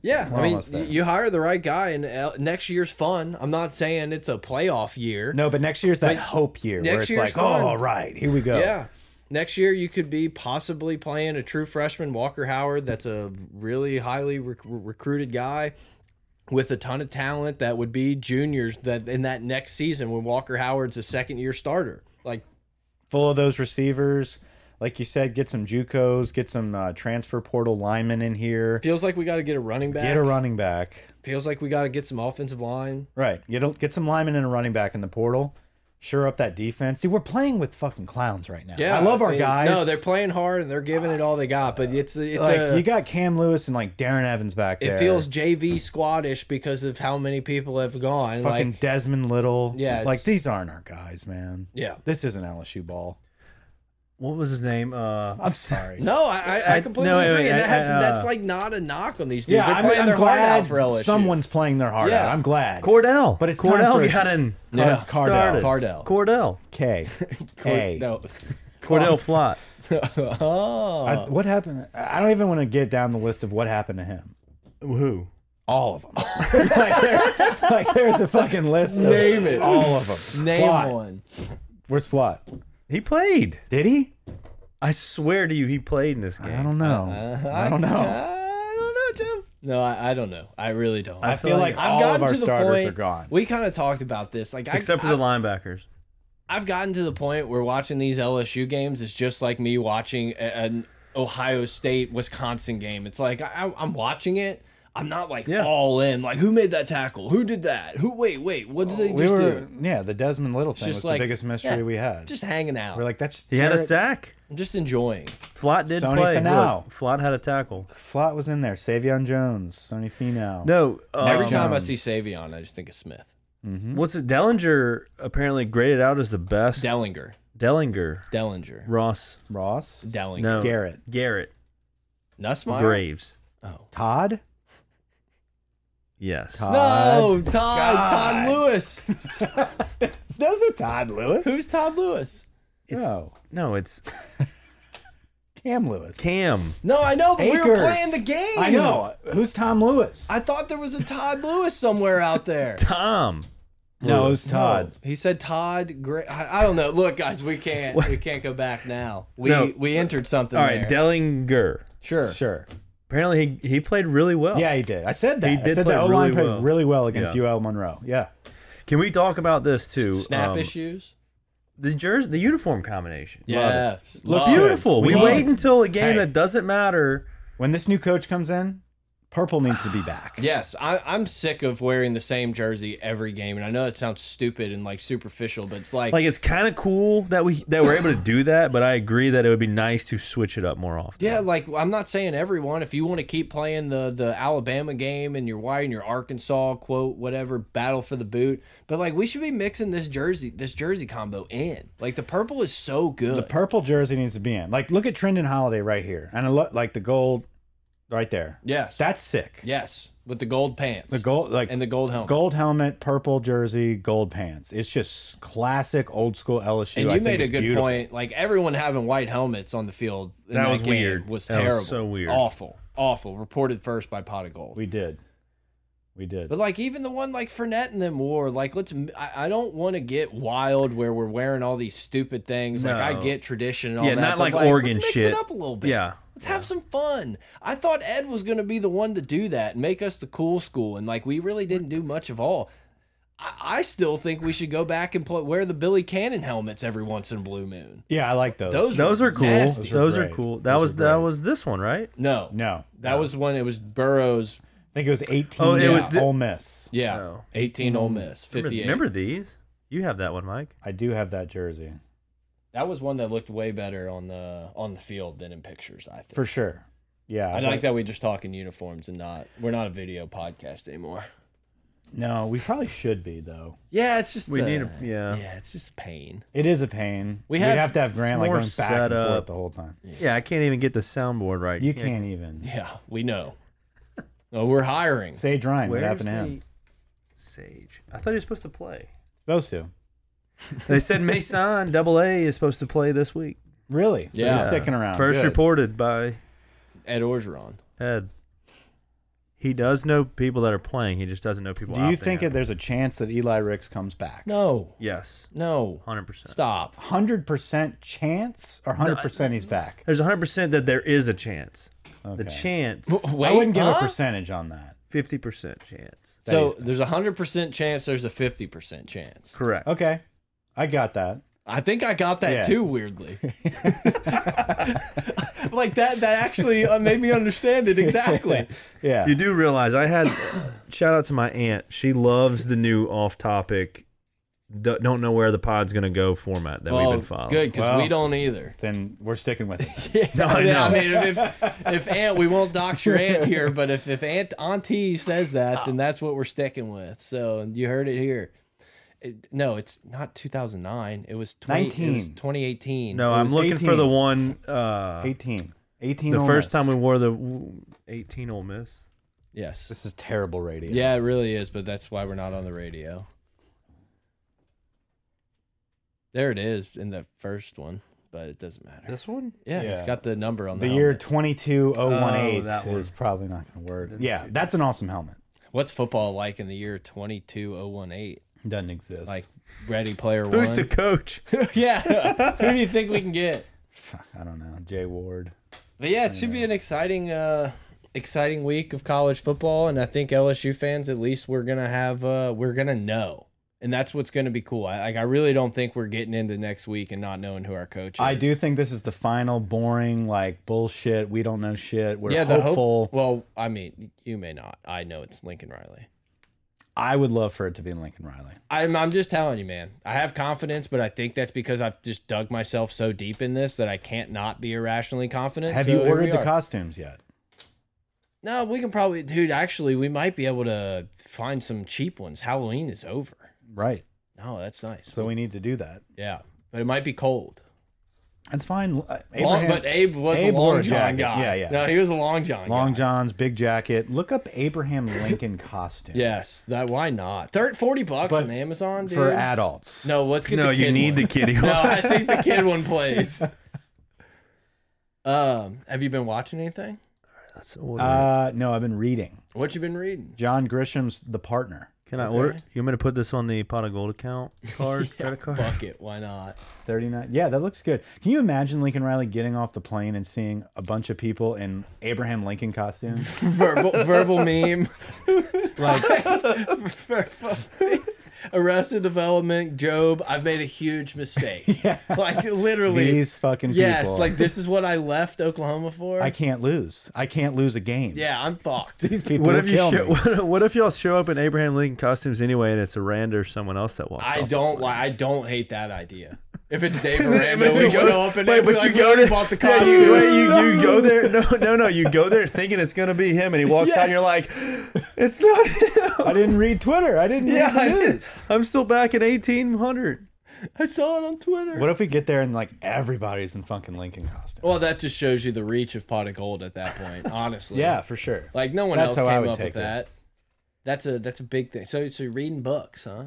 Speaker 1: Yeah,
Speaker 2: We're
Speaker 1: I mean,
Speaker 2: almost there.
Speaker 1: you hire the right guy, and uh, next year's fun. I'm not saying it's a playoff year.
Speaker 2: No, but next year's that hope year where
Speaker 1: next
Speaker 2: it's
Speaker 1: year's
Speaker 2: like,
Speaker 1: fun.
Speaker 2: oh, all right, here we go.
Speaker 1: Yeah, next year you could be possibly playing a true freshman, Walker Howard. That's a really highly rec recruited guy with a ton of talent that would be juniors that in that next season when Walker Howard's a second year starter. Like,
Speaker 2: Full of those receivers. Like you said, get some JUCOs, get some uh, transfer portal linemen in here.
Speaker 1: feels like we got to get a running back.
Speaker 2: Get a running back.
Speaker 1: feels like we got to get some offensive line.
Speaker 2: Right. You don't get some linemen and a running back in the portal. Sure up that defense. See, we're playing with fucking clowns right now.
Speaker 1: Yeah,
Speaker 2: I love our
Speaker 1: mean,
Speaker 2: guys.
Speaker 1: No, they're playing hard and they're giving it all they got. But it's it's
Speaker 2: like
Speaker 1: a,
Speaker 2: you got Cam Lewis and like Darren Evans back
Speaker 1: It
Speaker 2: there.
Speaker 1: feels JV squadish because of how many people have gone.
Speaker 2: fucking
Speaker 1: like,
Speaker 2: Desmond Little.
Speaker 1: Yeah, it's-
Speaker 2: Like these aren't our guys, man.
Speaker 1: yeah.
Speaker 2: This isn't LSU ball.
Speaker 3: what was his name? Uh,
Speaker 2: I'm sorry.
Speaker 1: No, I, I, I
Speaker 3: I-
Speaker 1: completely
Speaker 3: no, wait,
Speaker 1: agree.
Speaker 3: wait,
Speaker 1: and
Speaker 3: I-
Speaker 1: that has,
Speaker 3: I, uh,
Speaker 1: that's like not a knock on these dudes.
Speaker 2: yeah,
Speaker 1: They're
Speaker 2: I'm,
Speaker 1: playing
Speaker 2: I'm
Speaker 1: their heart out
Speaker 2: glad
Speaker 1: for LSU.
Speaker 2: someone's playing their heart
Speaker 1: Yeah.
Speaker 2: out. I'm glad.
Speaker 3: Cordell.
Speaker 2: But it's time for
Speaker 3: Cordell
Speaker 2: it to-
Speaker 3: got in.
Speaker 1: Yeah.
Speaker 2: Cardell.
Speaker 3: started.
Speaker 1: Cardell.
Speaker 3: Cordell.
Speaker 2: K. K.
Speaker 1: No.
Speaker 3: Cordell Flott.
Speaker 1: oh.
Speaker 2: I- what happened? I don't even want to get down the list of what happened to him.
Speaker 3: Who?
Speaker 2: All of them. like, there- like there's a fucking list. Of
Speaker 1: Name it.
Speaker 2: All of them.
Speaker 1: Name
Speaker 2: Flott.
Speaker 1: one.
Speaker 2: Where's Flot?
Speaker 3: He played.
Speaker 2: Did he?
Speaker 3: I swear to you, he played in this game.
Speaker 2: I don't know.
Speaker 1: Uh,
Speaker 2: I don't know.
Speaker 1: I don't know, Jim. No, I, I don't know. I really don't.
Speaker 2: I,
Speaker 1: I've,
Speaker 2: feel like
Speaker 3: like-
Speaker 2: all
Speaker 1: gotten
Speaker 2: of our
Speaker 1: to the
Speaker 2: starters
Speaker 1: point,
Speaker 2: are gone.
Speaker 1: We kind of talked about this. Like, I,
Speaker 3: Except for
Speaker 1: I,
Speaker 3: the linebackers.
Speaker 1: I've gotten to the point where watching these LSU games is just like me watching a- an Ohio State Wisconsin game. It's like I, I'm watching it. I'm not like
Speaker 3: Yeah.
Speaker 1: all in. Like who made that tackle? Who did that? Who? Wait, wait. What did they
Speaker 2: We
Speaker 1: just
Speaker 2: were
Speaker 1: do?
Speaker 2: yeah. The Desmond Little thing
Speaker 1: just
Speaker 2: was
Speaker 1: like-
Speaker 2: the biggest mystery
Speaker 1: yeah,
Speaker 2: we had.
Speaker 1: Just hanging out.
Speaker 2: we're like that's
Speaker 3: He had a
Speaker 2: Jarrett-
Speaker 3: sack.
Speaker 1: I'm just enjoying.
Speaker 3: Flott did
Speaker 2: Sony
Speaker 3: play.
Speaker 2: Finau.
Speaker 3: Look, Flott had a tackle.
Speaker 2: Flott was in there. Savion Jones, Sonny Finau.
Speaker 3: No,
Speaker 2: uh,
Speaker 3: um,
Speaker 1: Every time I
Speaker 2: Jones.
Speaker 1: see Savion, I just think of Smith.
Speaker 3: what's it? Dellinger apparently graded out as the best.
Speaker 1: Dellinger.
Speaker 3: Dellinger.
Speaker 1: Dellinger.
Speaker 3: Ross.
Speaker 2: Ross,
Speaker 1: Dellinger.
Speaker 3: No.
Speaker 2: Garrett,
Speaker 3: Garrett.
Speaker 1: Nussmeyer?
Speaker 3: Graves.
Speaker 1: Oh.
Speaker 2: Todd.
Speaker 3: Yes.
Speaker 2: Todd.
Speaker 1: No, Todd.
Speaker 2: Uh, God.
Speaker 1: Todd Lewis.
Speaker 2: Those are Todd Lewis.
Speaker 1: Who's Todd Lewis?
Speaker 3: It's,
Speaker 2: no,
Speaker 3: No, it's
Speaker 2: Cam Lewis.
Speaker 3: Cam.
Speaker 1: No, I know, but Oh, we were
Speaker 2: Akers.
Speaker 1: playing the game.
Speaker 2: I know. Who's Tom Lewis?
Speaker 1: I thought there was a Todd Lewis somewhere out there.
Speaker 3: Tom.
Speaker 2: no, it's Todd.
Speaker 1: No, he said Todd. Gra- I, I don't know. Look, guys, we can't. We can't go back now. We
Speaker 3: No.
Speaker 1: we entered something.
Speaker 3: All right,
Speaker 1: there.
Speaker 3: Dellinger.
Speaker 1: sure.
Speaker 2: Sure.
Speaker 3: Apparently, he, he played really well.
Speaker 2: Yeah, he did. I said that.
Speaker 3: Oh. He
Speaker 2: I
Speaker 3: did
Speaker 2: said
Speaker 3: play
Speaker 2: that O
Speaker 3: really
Speaker 2: line played
Speaker 3: well.
Speaker 2: really well against
Speaker 3: Yeah.
Speaker 2: UL Monroe. Yeah.
Speaker 3: Can we talk about this too?
Speaker 1: Snap
Speaker 3: Um,
Speaker 1: issues.
Speaker 3: The jersey, the uniform combination.
Speaker 1: Yeah,
Speaker 2: Looks
Speaker 1: love it.
Speaker 3: Beautiful. We,
Speaker 2: We love
Speaker 3: wait
Speaker 2: it.
Speaker 3: until a game
Speaker 2: Hey.
Speaker 3: that doesn't matter.
Speaker 2: When this new coach comes in, purple needs to be back.
Speaker 1: Yes, I, I'm sick of wearing the same jersey every game, and I know it sounds stupid and like superficial, but it's like,
Speaker 3: Like it's kind of cool that we that we're able to do that, but I agree that it would be nice to switch it up more often.
Speaker 1: yeah, like I'm not saying everyone. If you want to keep playing the the Alabama game and your Y and your Arkansas quote whatever battle for the boot, but like we should be mixing this jersey this jersey combo in. Like the purple is so good.
Speaker 2: The purple jersey needs to be in. Like, look at Trendon Holiday right here, and I look like the gold right there.
Speaker 1: yes,
Speaker 2: That's sick.
Speaker 1: yes, with the gold pants,
Speaker 2: The gold, like
Speaker 1: and the gold helmet.
Speaker 2: gold helmet, purple jersey, gold pants. It's just classic, old school LSU.
Speaker 1: and
Speaker 2: I
Speaker 1: you
Speaker 2: think
Speaker 1: made a
Speaker 2: it's
Speaker 1: good
Speaker 2: beautiful.
Speaker 1: point. Like everyone having white helmets on the field. in
Speaker 3: That was
Speaker 1: game
Speaker 3: weird.
Speaker 1: Was
Speaker 3: That was
Speaker 1: terrible.
Speaker 3: so weird.
Speaker 1: Awful. Awful. Reported first by Pot of Gold.
Speaker 2: We did. We did.
Speaker 1: But like even the one like Fournette and them wore, like let's. I, I don't want to get wild where we're wearing all these stupid things. Like I
Speaker 3: No.
Speaker 1: get tradition and all
Speaker 3: Yeah,
Speaker 1: that.
Speaker 3: not
Speaker 1: but,
Speaker 3: like Oregon
Speaker 1: let's mix
Speaker 3: shit.
Speaker 1: it up a little bit.
Speaker 3: Yeah.
Speaker 1: Let's have some fun. I thought Ed was going to be the one to do that and make us the cool school, and like we really didn't do much of all. I, I still think we should go back and play, wear the Billy Cannon helmets every once in a blue moon.
Speaker 2: yeah, I like those.
Speaker 1: Those-
Speaker 3: Those are cool.
Speaker 1: Nasty.
Speaker 3: Those
Speaker 2: Those are
Speaker 3: are
Speaker 2: great.
Speaker 3: cool. That
Speaker 2: Those
Speaker 3: was
Speaker 2: are
Speaker 3: that
Speaker 2: great.
Speaker 3: was this one, right?
Speaker 1: No,
Speaker 2: no,
Speaker 1: that was when it was Burrows.
Speaker 2: I think it was eighteen.
Speaker 3: Oh, it
Speaker 2: yeah,
Speaker 3: was the-
Speaker 2: Ole Miss.
Speaker 1: Yeah,
Speaker 3: No. Mm.
Speaker 1: eighteen Ole Miss,
Speaker 3: Remember,
Speaker 1: fifty-eight.
Speaker 3: remember these? You have that one, Mike.
Speaker 2: I do have that jersey
Speaker 1: That was one that looked way better on the on the field than in pictures. I think.
Speaker 2: for sure. Yeah,
Speaker 1: I
Speaker 2: but-
Speaker 1: like that we just talk in uniforms and not we're not a video podcast anymore.
Speaker 2: No, we probably should be though.
Speaker 1: Yeah, it's just
Speaker 3: We need a- yeah.
Speaker 1: yeah, it's just pain.
Speaker 2: It is a pain.
Speaker 1: We
Speaker 2: We would
Speaker 1: have-
Speaker 2: have to have Grant
Speaker 3: it's
Speaker 2: like
Speaker 3: more
Speaker 2: going back and
Speaker 3: setup.
Speaker 2: forth the whole time.
Speaker 3: Yeah, I can't even get the soundboard right.
Speaker 2: You can't even.
Speaker 1: Yeah, we know. Oh, we're hiring.
Speaker 2: Sage Ryan, what
Speaker 3: Where's
Speaker 2: happened to
Speaker 3: the
Speaker 2: him?
Speaker 3: Sage? I thought he was supposed to play.
Speaker 2: Those two.
Speaker 3: They said Mason Double A is supposed to play this week.
Speaker 2: Really? So
Speaker 1: Yeah.
Speaker 2: he's sticking around.
Speaker 3: First
Speaker 2: Good.
Speaker 3: reported by
Speaker 1: Ed Orgeron.
Speaker 3: Ed. He does know people that are playing. He just doesn't know people.
Speaker 2: Do you
Speaker 3: opting
Speaker 2: think
Speaker 3: out.
Speaker 2: that there's a chance that Eli Ricks comes back?
Speaker 1: No,
Speaker 3: Yes,
Speaker 1: no.
Speaker 3: hundred percent.
Speaker 1: Stop.
Speaker 2: Hundred percent chance or hundred percent he's back.
Speaker 3: There's hundred percent that there is a chance. The
Speaker 2: Okay.
Speaker 3: chance,
Speaker 1: Wait,
Speaker 2: I wouldn't give
Speaker 1: huh?
Speaker 2: a percentage on that.
Speaker 3: fifty percent chance.
Speaker 2: that
Speaker 1: So
Speaker 2: he's-
Speaker 1: there's a hundred percent chance. There's a fifty percent chance.
Speaker 3: Correct.
Speaker 2: okay, I got that.
Speaker 1: I think I got that
Speaker 2: Yeah.
Speaker 1: too. Weirdly, like that. That actually uh, made me understand it exactly.
Speaker 2: Yeah.
Speaker 3: You do realize I had shout out to my aunt. She loves the new off-topic. d- Don't know where the pod's gonna go format that we've
Speaker 1: Well,
Speaker 3: been following.
Speaker 1: good because
Speaker 2: Well.
Speaker 1: we don't either.
Speaker 2: then we're sticking with it.
Speaker 1: Yeah,
Speaker 3: I
Speaker 1: yeah, I
Speaker 3: know.
Speaker 1: mean, if, if, if aunt, we won't dox your aunt here, but if, if aunt auntie says that, then that's what we're sticking with. So you heard it here. It- no, it's not 2009. It was, 20, it was
Speaker 2: 19.
Speaker 1: 2018.
Speaker 3: No,
Speaker 2: It
Speaker 3: I'm
Speaker 2: was
Speaker 3: looking for the
Speaker 2: 18.
Speaker 3: one. Uh,
Speaker 2: 18. 18
Speaker 3: the
Speaker 2: Ole
Speaker 3: first
Speaker 2: Miss.
Speaker 3: time we wore the w- 18 Ole Miss.
Speaker 1: Yes.
Speaker 2: This is terrible radio.
Speaker 1: Yeah, it really is, but that's why we're not on the radio. There it is in the first one, but it doesn't matter.
Speaker 3: This one?
Speaker 1: yeah, it's
Speaker 2: Yeah.
Speaker 1: got the number on the,
Speaker 2: The year
Speaker 1: helmet.
Speaker 2: 22018
Speaker 3: Oh, that
Speaker 2: is
Speaker 3: one.
Speaker 2: probably not going to work. yeah, that's an awesome helmet.
Speaker 1: What's football like in the year 22018?
Speaker 2: Doesn't exist.
Speaker 1: Like Ready Player
Speaker 3: Who's
Speaker 1: One.
Speaker 3: the coach?
Speaker 1: yeah. Who do you think we can get?
Speaker 2: Fuck, I don't know. Jay Ward.
Speaker 1: But yeah, it should be an exciting, uh, exciting week of college football, and I think LSU fans, at least, we're gonna have, uh, we're gonna know, and that's what's gonna be cool. I like, I really don't think we're getting into next week and not knowing who our coach is.
Speaker 2: I do think this is the final boring, like bullshit. We don't know shit. We're
Speaker 1: Yeah, the hope-
Speaker 2: hopeful.
Speaker 1: Well, I mean, you may not. I know it's Lincoln Riley.
Speaker 2: I would love for it to be Lincoln Riley.
Speaker 1: I'm, I'm just telling you, man. I have confidence, but I think that's because I've just dug myself so deep in this that I can't not be irrationally confident.
Speaker 2: Have
Speaker 1: So
Speaker 2: you
Speaker 1: here
Speaker 2: ordered
Speaker 1: we
Speaker 2: the
Speaker 1: are.
Speaker 2: costumes yet?
Speaker 1: No, we can probably, dude. Actually, we might be able to find some cheap ones. Halloween is over.
Speaker 2: Right.
Speaker 1: No, that's nice.
Speaker 2: So we need to do that.
Speaker 1: yeah, but it might be cold.
Speaker 2: That's fine. Uh,
Speaker 1: Long-
Speaker 2: Abraham-
Speaker 1: but Abe was
Speaker 2: Abe
Speaker 1: a
Speaker 2: wore
Speaker 1: long
Speaker 2: a
Speaker 1: john
Speaker 2: jacket.
Speaker 1: guy.
Speaker 2: Yeah, yeah.
Speaker 1: No, he was a long john. guy.
Speaker 2: Long John's, big jacket. Look up Abraham Lincoln costume
Speaker 1: Yes, that. Why not? Thir forty bucks
Speaker 2: But
Speaker 1: on Amazon, dude.
Speaker 2: for adults.
Speaker 1: no, let's get
Speaker 3: No,
Speaker 1: the kid
Speaker 3: you need
Speaker 1: one.
Speaker 3: the kitty one.
Speaker 1: No, I think the kid one plays. Um, have you been watching anything?
Speaker 3: That's order.
Speaker 2: Uh, no, I've been reading
Speaker 1: What you been reading?
Speaker 2: John Grisham's The Partner.
Speaker 3: Can I order? You want me to put this on the pot of gold account card, credit card?
Speaker 1: Fuck it, why not?
Speaker 2: 39. Yeah, that looks good. Can you imagine Lincoln Riley getting off the plane and seeing a bunch of people in Abraham Lincoln costumes?
Speaker 1: verbal verbal meme.
Speaker 2: like,
Speaker 1: Arrested Development, Job. I've made a huge mistake. Like literally.
Speaker 2: these fucking
Speaker 1: yes,
Speaker 2: people.
Speaker 1: like this is what I left Oklahoma for.
Speaker 2: I can't lose. I can't lose a game.
Speaker 1: yeah, I'm fucked.
Speaker 2: These people
Speaker 3: What
Speaker 2: will
Speaker 3: if you
Speaker 2: kill
Speaker 3: show,
Speaker 2: me.
Speaker 3: what, what if y'all show up in Abraham Lincoln costumes anyway, and it's Aranda or someone else that walks?
Speaker 1: I
Speaker 3: off?
Speaker 1: don't why I don't hate that idea. If it's Dave Aranda,
Speaker 3: But you
Speaker 1: we
Speaker 3: go-
Speaker 1: go up and
Speaker 3: wait,
Speaker 1: they'd be
Speaker 3: but you
Speaker 1: like,
Speaker 3: go
Speaker 1: "We
Speaker 3: to-
Speaker 1: bought the
Speaker 3: Yeah,
Speaker 1: costume.
Speaker 3: you, wait, you, you go there. No, no, no. You go there thinking it's gonna be him, and he walks out, and you're like, "It's not him."
Speaker 2: I didn't read Twitter. I didn't
Speaker 3: Yeah, I
Speaker 2: read the
Speaker 3: did.
Speaker 2: news.
Speaker 3: I'm still back in 1800.
Speaker 1: I saw it on Twitter.
Speaker 2: What if we get there and like everybody's in fucking Lincoln costume?
Speaker 1: Well, that just shows you the reach of pot of gold at that point, honestly.
Speaker 2: Yeah, for sure.
Speaker 1: Like no one
Speaker 2: That's
Speaker 1: else
Speaker 2: how I
Speaker 1: came
Speaker 2: would
Speaker 1: up with
Speaker 2: take it.
Speaker 1: that. That's a that's a big thing. So so you're reading books, huh?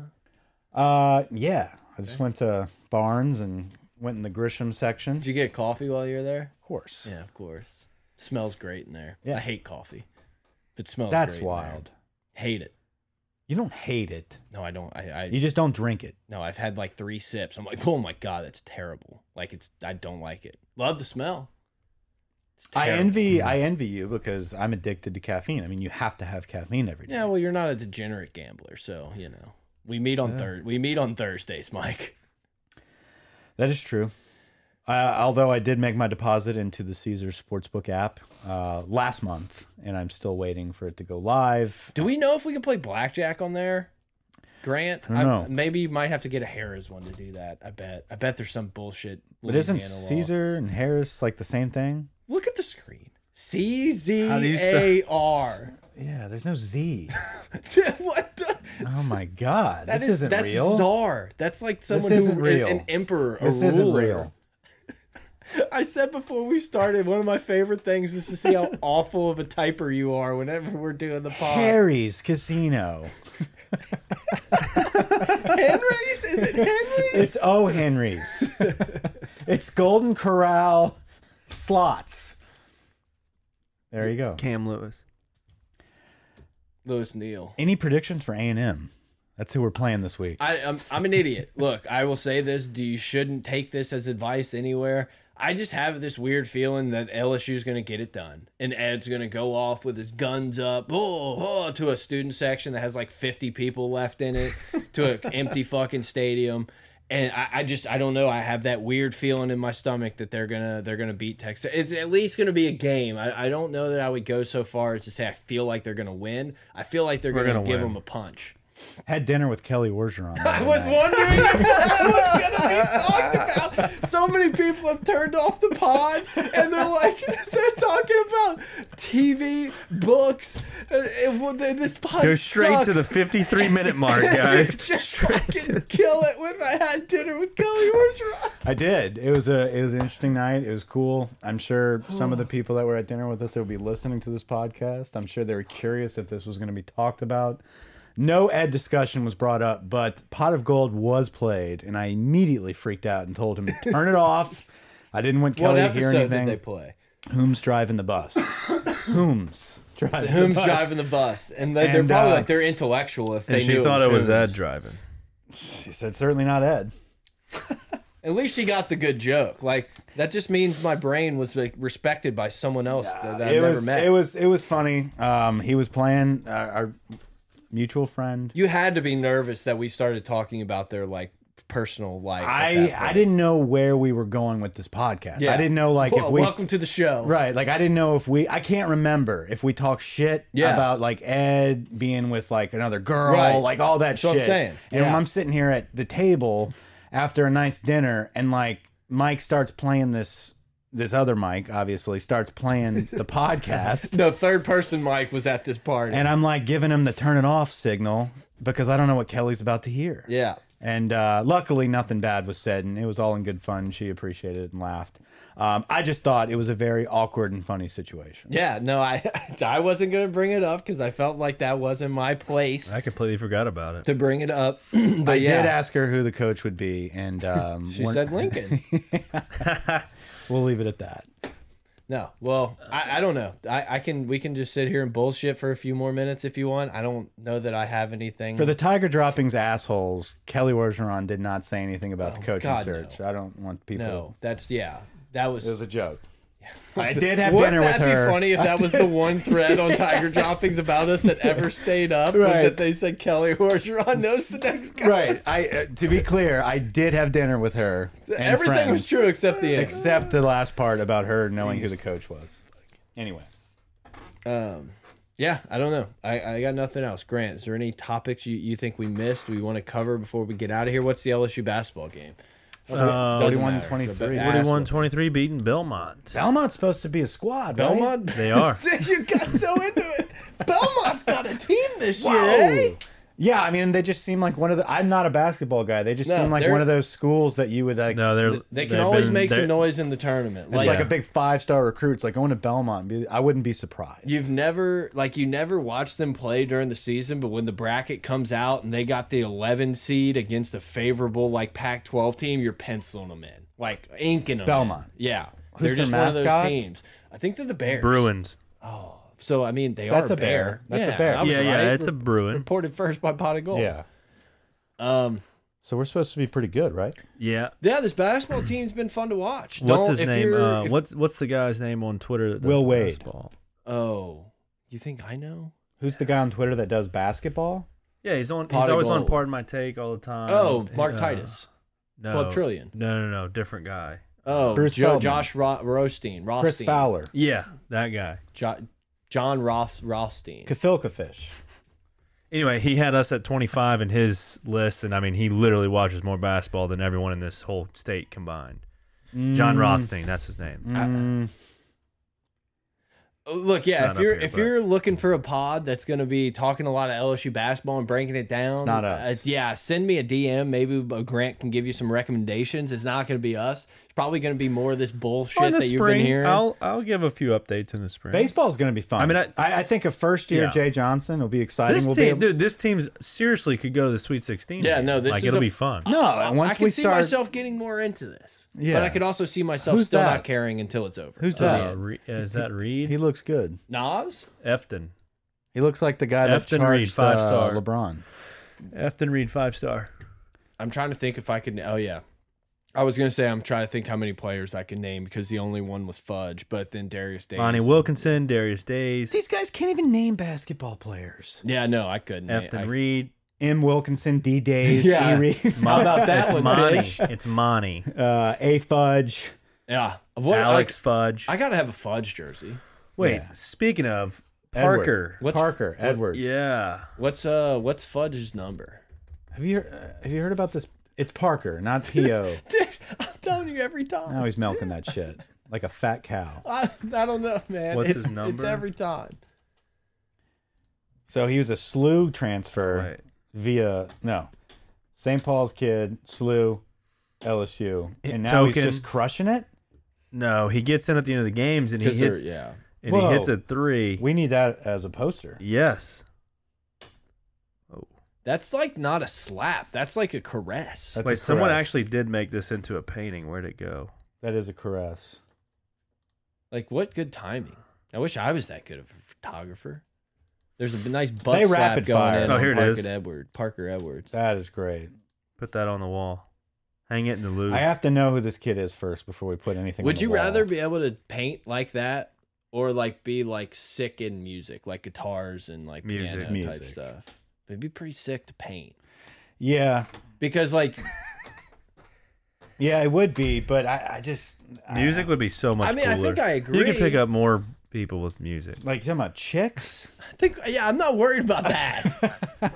Speaker 2: Uh, yeah. I just went to Barnes and went in the Grisham section.
Speaker 1: Did you get coffee while you were there?
Speaker 2: Of course.
Speaker 1: Yeah, of course. Smells great in there.
Speaker 2: Yeah.
Speaker 1: I hate coffee. It smells
Speaker 2: That's
Speaker 1: great in there.
Speaker 2: wild.
Speaker 1: Hate it.
Speaker 2: You don't hate it.
Speaker 1: No, I don't I, I
Speaker 2: You just don't drink it.
Speaker 1: no, I've had like three sips. I'm like, oh my god, that's terrible. Like it's I don't like it. Love the smell. It's
Speaker 2: I
Speaker 1: terrible.
Speaker 2: envy
Speaker 3: Mm-hmm.
Speaker 2: I envy you because I'm addicted to caffeine. I mean, you have to have caffeine every day.
Speaker 1: Yeah, well you're not a degenerate gambler, so you know. We meet on third we meet on Thursdays, Mike.
Speaker 2: That is true. Uh, although I did make my deposit into the Caesar Sportsbook app uh, last month, and I'm still waiting for it to go live.
Speaker 1: Do we know if we can play blackjack on there? Grant,
Speaker 2: don't
Speaker 1: I
Speaker 2: know.
Speaker 1: maybe you might have to get a Harris one to do that. I bet. I bet there's some bullshit.
Speaker 2: But isn't
Speaker 1: Louisiana law.
Speaker 2: Caesar and Harris like the same thing?
Speaker 1: Look at the screen. C Z
Speaker 3: How do you
Speaker 1: A R.
Speaker 2: Yeah, there's no Z.
Speaker 1: Dude, what the?
Speaker 2: Oh my God,
Speaker 1: That
Speaker 2: this
Speaker 1: is-
Speaker 2: isn't
Speaker 1: that's
Speaker 2: real.
Speaker 1: czar. That's like someone
Speaker 2: isn't
Speaker 1: who
Speaker 2: real.
Speaker 1: An, an emperor.
Speaker 2: this
Speaker 1: a ruler.
Speaker 2: isn't real.
Speaker 1: I said before we started, one of my favorite things is to see how awful of a typer you are whenever we're doing the pod.
Speaker 2: Harry's Casino.
Speaker 1: Henry's? Is it Henry's?
Speaker 2: It's O. Henry's. it's Golden Corral slots. There you go.
Speaker 3: Cam Lewis.
Speaker 1: Lewis Neal.
Speaker 2: Any predictions for A and M? That's who we're playing this week.
Speaker 1: I, I'm, I'm an idiot. Look, I will say this. Do you shouldn't take this as advice anywhere. I just have this weird feeling that LSU's going to get it done, and Ed's going to go off with his guns up, oh, oh, to a student section that has like 50 people left in it, to an empty fucking stadium, and I, I just I don't know. I have that weird feeling in my stomach that they're gonna they're gonna beat Texas. It's at least gonna be a game. I, I don't know that I would go so far as to say I feel like they're gonna win. I feel like they're gonna,
Speaker 3: gonna
Speaker 1: give
Speaker 3: win.
Speaker 1: them a punch.
Speaker 2: Had dinner with Kelly Orgeron. the
Speaker 1: I
Speaker 2: other
Speaker 1: was
Speaker 2: night.
Speaker 1: wondering if that was gonna be talked about. So many people have turned off the pod, and they're like, they're talking about TV, books. Uh, And, and well, they- this pod
Speaker 3: Go straight to the
Speaker 1: sucks.
Speaker 3: 53 minute mark, guys.
Speaker 1: Just, just fucking kill it with I had dinner with Kelly Orgeron.
Speaker 2: I did. It was a it was an interesting night. It was cool. I'm sure some of the people that were at dinner with us that would be listening to this podcast. I'm sure they were curious if this was going to be talked about. No ed discussion was brought up, but Pot of Gold was played, and I immediately freaked out and told him to turn it off. I didn't want Kelly to hear anything.
Speaker 1: play?
Speaker 2: Whom's driving the bus? Whom's driving
Speaker 1: Whom's
Speaker 2: the bus?
Speaker 1: driving the bus? And, they,
Speaker 2: And,
Speaker 1: they're probably
Speaker 2: uh,
Speaker 1: like they're intellectual if they
Speaker 3: and she
Speaker 1: knew
Speaker 3: thought it was
Speaker 1: Whom's.
Speaker 3: Ed driving.
Speaker 2: She said, certainly not Ed.
Speaker 1: At least she got the good joke. Like that just means my brain was like respected by someone else that, that I
Speaker 2: it
Speaker 1: never
Speaker 2: was
Speaker 1: met.
Speaker 2: it was it was funny. Um, he was playing our, our mutual friend.
Speaker 1: you had to be nervous that we started talking about their like personal life. at
Speaker 2: I
Speaker 1: that
Speaker 2: I
Speaker 1: point.
Speaker 2: didn't know where we were going with this podcast.
Speaker 1: Yeah.
Speaker 2: I didn't know like if
Speaker 1: Well,
Speaker 2: we
Speaker 1: welcome to the show.
Speaker 2: right like I didn't know if we I can't remember if we talk shit
Speaker 1: Yeah.
Speaker 2: about like Ed being with like another girl
Speaker 1: Right.
Speaker 2: like all that
Speaker 1: That's
Speaker 2: shit.
Speaker 1: what I'm saying.
Speaker 2: And when
Speaker 1: Yeah.
Speaker 2: I'm sitting here at the table after a nice dinner and like Mike starts playing this this other Mike obviously starts playing the podcast
Speaker 1: No, third person Mike was at this party.
Speaker 2: and I'm like giving him the turn it off signal because I don't know what Kelly's about to hear.
Speaker 1: yeah.
Speaker 2: And uh, luckily, nothing bad was said, and it was all in good fun. She appreciated it and laughed. Um, I just thought it was a very awkward and funny situation.
Speaker 1: Yeah, no, I I wasn't gonna bring it up because I felt like that wasn't my place
Speaker 3: I completely forgot about it.
Speaker 1: to bring it up. but
Speaker 2: I
Speaker 1: yeah,
Speaker 2: did ask her who the coach would be, and um,
Speaker 1: she
Speaker 2: we're-
Speaker 1: said Lincoln.
Speaker 2: we'll leave it at that.
Speaker 1: no, well, I, I don't know. I, I can we can just sit here and bullshit for a few more minutes if you want. I don't know that I have anything
Speaker 2: For the Tiger droppings assholes, Kelly Orgeron did not say anything about the coaching
Speaker 1: Oh, God,
Speaker 2: search. I don't want people.
Speaker 1: No, that's yeah. That was.
Speaker 2: It was a joke. I did have
Speaker 1: Wouldn't
Speaker 2: dinner with
Speaker 1: that
Speaker 2: her.
Speaker 1: be funny if that was the one thread on Tiger Droppings about us that ever stayed up? Was
Speaker 2: Right.
Speaker 1: that they said Kelly Orgeron knows the next guy?
Speaker 2: right. I uh, to be clear, I did have dinner with her. and
Speaker 1: Everything was
Speaker 2: friends.
Speaker 1: true except the end.
Speaker 2: except the last part about her knowing who the coach was. Anyway,
Speaker 1: Um, yeah, I don't know. I, I got nothing else. Grant, is there any topics you, you think we missed we want to cover before we get out of here? What's the LSU basketball game?
Speaker 3: Uh,
Speaker 1: Doesn't
Speaker 2: 41
Speaker 1: matter.
Speaker 2: 23.
Speaker 1: Ass-
Speaker 3: 41 23 beating Belmont.
Speaker 2: Belmont's supposed to be a squad. right?
Speaker 1: Belmont?
Speaker 3: They are.
Speaker 1: you got so into it. Belmont's got a team this year,
Speaker 2: Wow.
Speaker 1: eh?
Speaker 2: Yeah, I mean, they just seem like one of the. I'm not a basketball guy. They just
Speaker 1: No,
Speaker 2: seem like
Speaker 1: they're-
Speaker 2: one of those schools that you would like.
Speaker 3: No, they're
Speaker 1: They can
Speaker 3: they've
Speaker 1: always
Speaker 3: been-
Speaker 1: make
Speaker 3: they're-
Speaker 1: some noise in the tournament.
Speaker 2: It's like
Speaker 3: Yeah.
Speaker 2: a big five star recruit. It's like going to Belmont. be- I wouldn't be surprised.
Speaker 1: You've never like you never watched them play during the season, but when the bracket comes out and they got the 11 seed against a favorable like Pac-12 team, you're penciling them in, like inking them. in.
Speaker 2: Belmont.
Speaker 1: yeah, they're
Speaker 2: Who's their
Speaker 1: just one of
Speaker 2: mascot?
Speaker 1: those teams. I think they're the Bears. Oh,
Speaker 3: Bruins.
Speaker 1: So I mean, they
Speaker 2: That's
Speaker 1: are
Speaker 2: a bear. That's a
Speaker 1: Yeah,
Speaker 2: bear.
Speaker 1: I was
Speaker 3: Yeah, yeah,
Speaker 1: right.
Speaker 3: it's a
Speaker 1: Re-
Speaker 3: Bruin.
Speaker 1: reported first by Pot of Gold.
Speaker 2: yeah.
Speaker 1: Um.
Speaker 2: So we're supposed to be pretty good, right?
Speaker 3: Yeah.
Speaker 1: Yeah, this basketball team's been fun to watch.
Speaker 3: What's
Speaker 1: Don't-
Speaker 3: his
Speaker 1: if
Speaker 3: name?
Speaker 1: you're-
Speaker 3: Uh,
Speaker 1: if-
Speaker 3: what's what's the guy's name on Twitter? That does
Speaker 2: Will Wade.
Speaker 3: basketball?
Speaker 1: Oh, you think I know?
Speaker 2: Who's the guy on Twitter that does basketball?
Speaker 3: Yeah, he's on.
Speaker 1: Pot
Speaker 3: he's
Speaker 1: of
Speaker 3: always on
Speaker 1: Gold.
Speaker 3: Pardon My Take all the time.
Speaker 1: Oh, Mark
Speaker 3: Uh,
Speaker 1: Titus,
Speaker 3: No,
Speaker 1: Club Trillion.
Speaker 3: No, no, no, different guy.
Speaker 1: Oh,
Speaker 2: Bruce
Speaker 1: Joe,
Speaker 2: Feldman.
Speaker 1: Josh Ro Rothstein. Rothstein.
Speaker 2: Chris Fowler,
Speaker 3: Yeah, that guy.
Speaker 1: Jo John Roth Rothstein.
Speaker 2: Kafilka Fish.
Speaker 3: Anyway, he had us at 25 in his list, and I mean, he literally watches more basketball than everyone in this whole state combined.
Speaker 1: Mm.
Speaker 3: John Rothstein, that's his name.
Speaker 2: Mm,
Speaker 1: Uh, Look, yeah,
Speaker 3: not
Speaker 1: if
Speaker 3: up
Speaker 1: you're
Speaker 3: here,
Speaker 1: if
Speaker 3: but-
Speaker 1: you're looking for a pod that's going to be talking a lot of LSU basketball and breaking it down,
Speaker 2: Not
Speaker 1: uh,
Speaker 2: us.
Speaker 1: yeah, send me a DM. Maybe a Grant can give you some recommendations. It's not going to be us. It's probably going to be more of this bullshit
Speaker 3: in the
Speaker 1: that you've been
Speaker 3: spring,
Speaker 1: hearing.
Speaker 3: I'll I'll give a few updates in the spring.
Speaker 2: baseball's going to be fun.
Speaker 3: I mean, I-
Speaker 2: I, think a first year
Speaker 3: Yeah.
Speaker 2: Jay Johnson will be exciting.
Speaker 3: This
Speaker 2: we'll
Speaker 3: team,
Speaker 2: be able-
Speaker 3: dude, this team's seriously could go to the Sweet 16.
Speaker 1: Yeah,
Speaker 3: here.
Speaker 1: no, this
Speaker 3: like
Speaker 1: is
Speaker 3: it'll
Speaker 1: a-
Speaker 3: be fun.
Speaker 2: No,
Speaker 1: I-
Speaker 2: and once
Speaker 1: I can
Speaker 2: we
Speaker 1: see
Speaker 2: start,
Speaker 1: myself getting more into this.
Speaker 2: Yeah.
Speaker 1: But I could also see myself
Speaker 2: Who's
Speaker 1: still
Speaker 2: that?
Speaker 1: not caring until it's over.
Speaker 2: Who's
Speaker 1: Till the
Speaker 2: that?
Speaker 1: end.
Speaker 3: Uh, Re- is that Reed?
Speaker 2: he looks good.
Speaker 1: Nas?
Speaker 3: Efton.
Speaker 2: He looks like the guy that
Speaker 3: Efton
Speaker 2: charged
Speaker 3: Reed, five
Speaker 2: uh,
Speaker 3: star.
Speaker 2: LeBron.
Speaker 3: Efton Reed, five star.
Speaker 1: I'm trying to think if I could. Oh yeah, I was gonna say I'm trying to think how many players I could name because the only one was Fudge, but then Darius Davis.
Speaker 3: Bonnie Wilkinson, Darius Days,
Speaker 2: These guys can't even name basketball players.
Speaker 1: Yeah, no, I couldn't. I,
Speaker 3: Efton Reed.
Speaker 2: M. Wilkinson, D. Days,
Speaker 1: Yeah.
Speaker 2: E. Reed,
Speaker 3: Mon-
Speaker 1: about that
Speaker 3: it's
Speaker 1: one,
Speaker 3: Monty.
Speaker 1: bitch?
Speaker 3: It's Monty.
Speaker 2: uh, A. Fudge.
Speaker 1: Yeah, what,
Speaker 3: Alex Fudge.
Speaker 1: I, I gotta have a Fudge jersey.
Speaker 3: Wait,
Speaker 2: Yeah.
Speaker 3: speaking of
Speaker 2: Edward.
Speaker 3: Parker.
Speaker 1: What's-
Speaker 2: Parker Edwards.
Speaker 3: Yeah.
Speaker 1: What's uh, what's Fudge's number?
Speaker 2: Have you uh, have you heard about this? It's Parker, not T.O.
Speaker 1: Dude, I'm telling you every time.
Speaker 2: now he's milking that shit like a fat cow.
Speaker 1: I, I don't know, man.
Speaker 3: What's
Speaker 1: It's-
Speaker 3: his number?
Speaker 1: It's every time.
Speaker 2: So he was a SLU transfer
Speaker 3: Right.
Speaker 2: via no St. Paul's kid, SLU, LSU, and now he's
Speaker 3: Token.
Speaker 2: just crushing it.
Speaker 3: No, he gets in at the end of the games and he
Speaker 1: 'Cause they're-
Speaker 3: hits
Speaker 1: yeah.
Speaker 3: and
Speaker 2: Whoa.
Speaker 3: he hits a three.
Speaker 2: We need that as a poster.
Speaker 3: yes.
Speaker 1: That's like not a slap. That's like a caress.
Speaker 2: That's a
Speaker 3: Wait, someone
Speaker 2: caress.
Speaker 3: actually did make this into a painting. Where'd it go?
Speaker 2: That is a caress.
Speaker 1: Like what good timing. I wish I was that good of a photographer. There's a nice butt
Speaker 2: They
Speaker 1: slap
Speaker 2: rapid
Speaker 1: going
Speaker 2: fire.
Speaker 1: in
Speaker 3: Oh,
Speaker 1: on
Speaker 3: here it
Speaker 1: Parker
Speaker 3: is.
Speaker 1: Edward, Parker Edwards.
Speaker 2: That is great.
Speaker 3: Put that on the wall. Hang it in the loop.
Speaker 2: I have to know who this kid is first before we put anything. on
Speaker 1: Would
Speaker 2: the
Speaker 1: you
Speaker 2: wall.
Speaker 1: rather be able to paint like that or like be like sick in music, like guitars and like
Speaker 3: Music.
Speaker 1: piano
Speaker 2: Music.
Speaker 1: type stuff? It'd be pretty sick to paint
Speaker 2: Yeah,
Speaker 1: because like
Speaker 2: Yeah, it would be, but I, I just I-
Speaker 3: Music would be so much.
Speaker 1: uh, I mean, I
Speaker 3: cooler.
Speaker 1: think I
Speaker 3: You could pick
Speaker 1: agree.
Speaker 3: up more people with music.
Speaker 2: like you're talking about chicks.
Speaker 1: I think yeah, I'm not worried about that.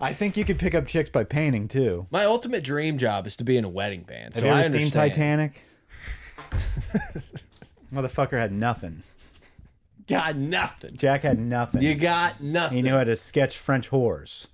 Speaker 2: I think you could pick up chicks by painting too.
Speaker 1: My ultimate dream job is to be in a wedding band.
Speaker 2: Have
Speaker 1: so
Speaker 2: you
Speaker 1: I
Speaker 2: ever
Speaker 1: understand.
Speaker 2: seen Titanic? Motherfucker had nothing.
Speaker 1: Got nothing.
Speaker 2: Jack had nothing.
Speaker 1: You got
Speaker 2: he
Speaker 1: nothing.
Speaker 2: knew how to sketch French whores.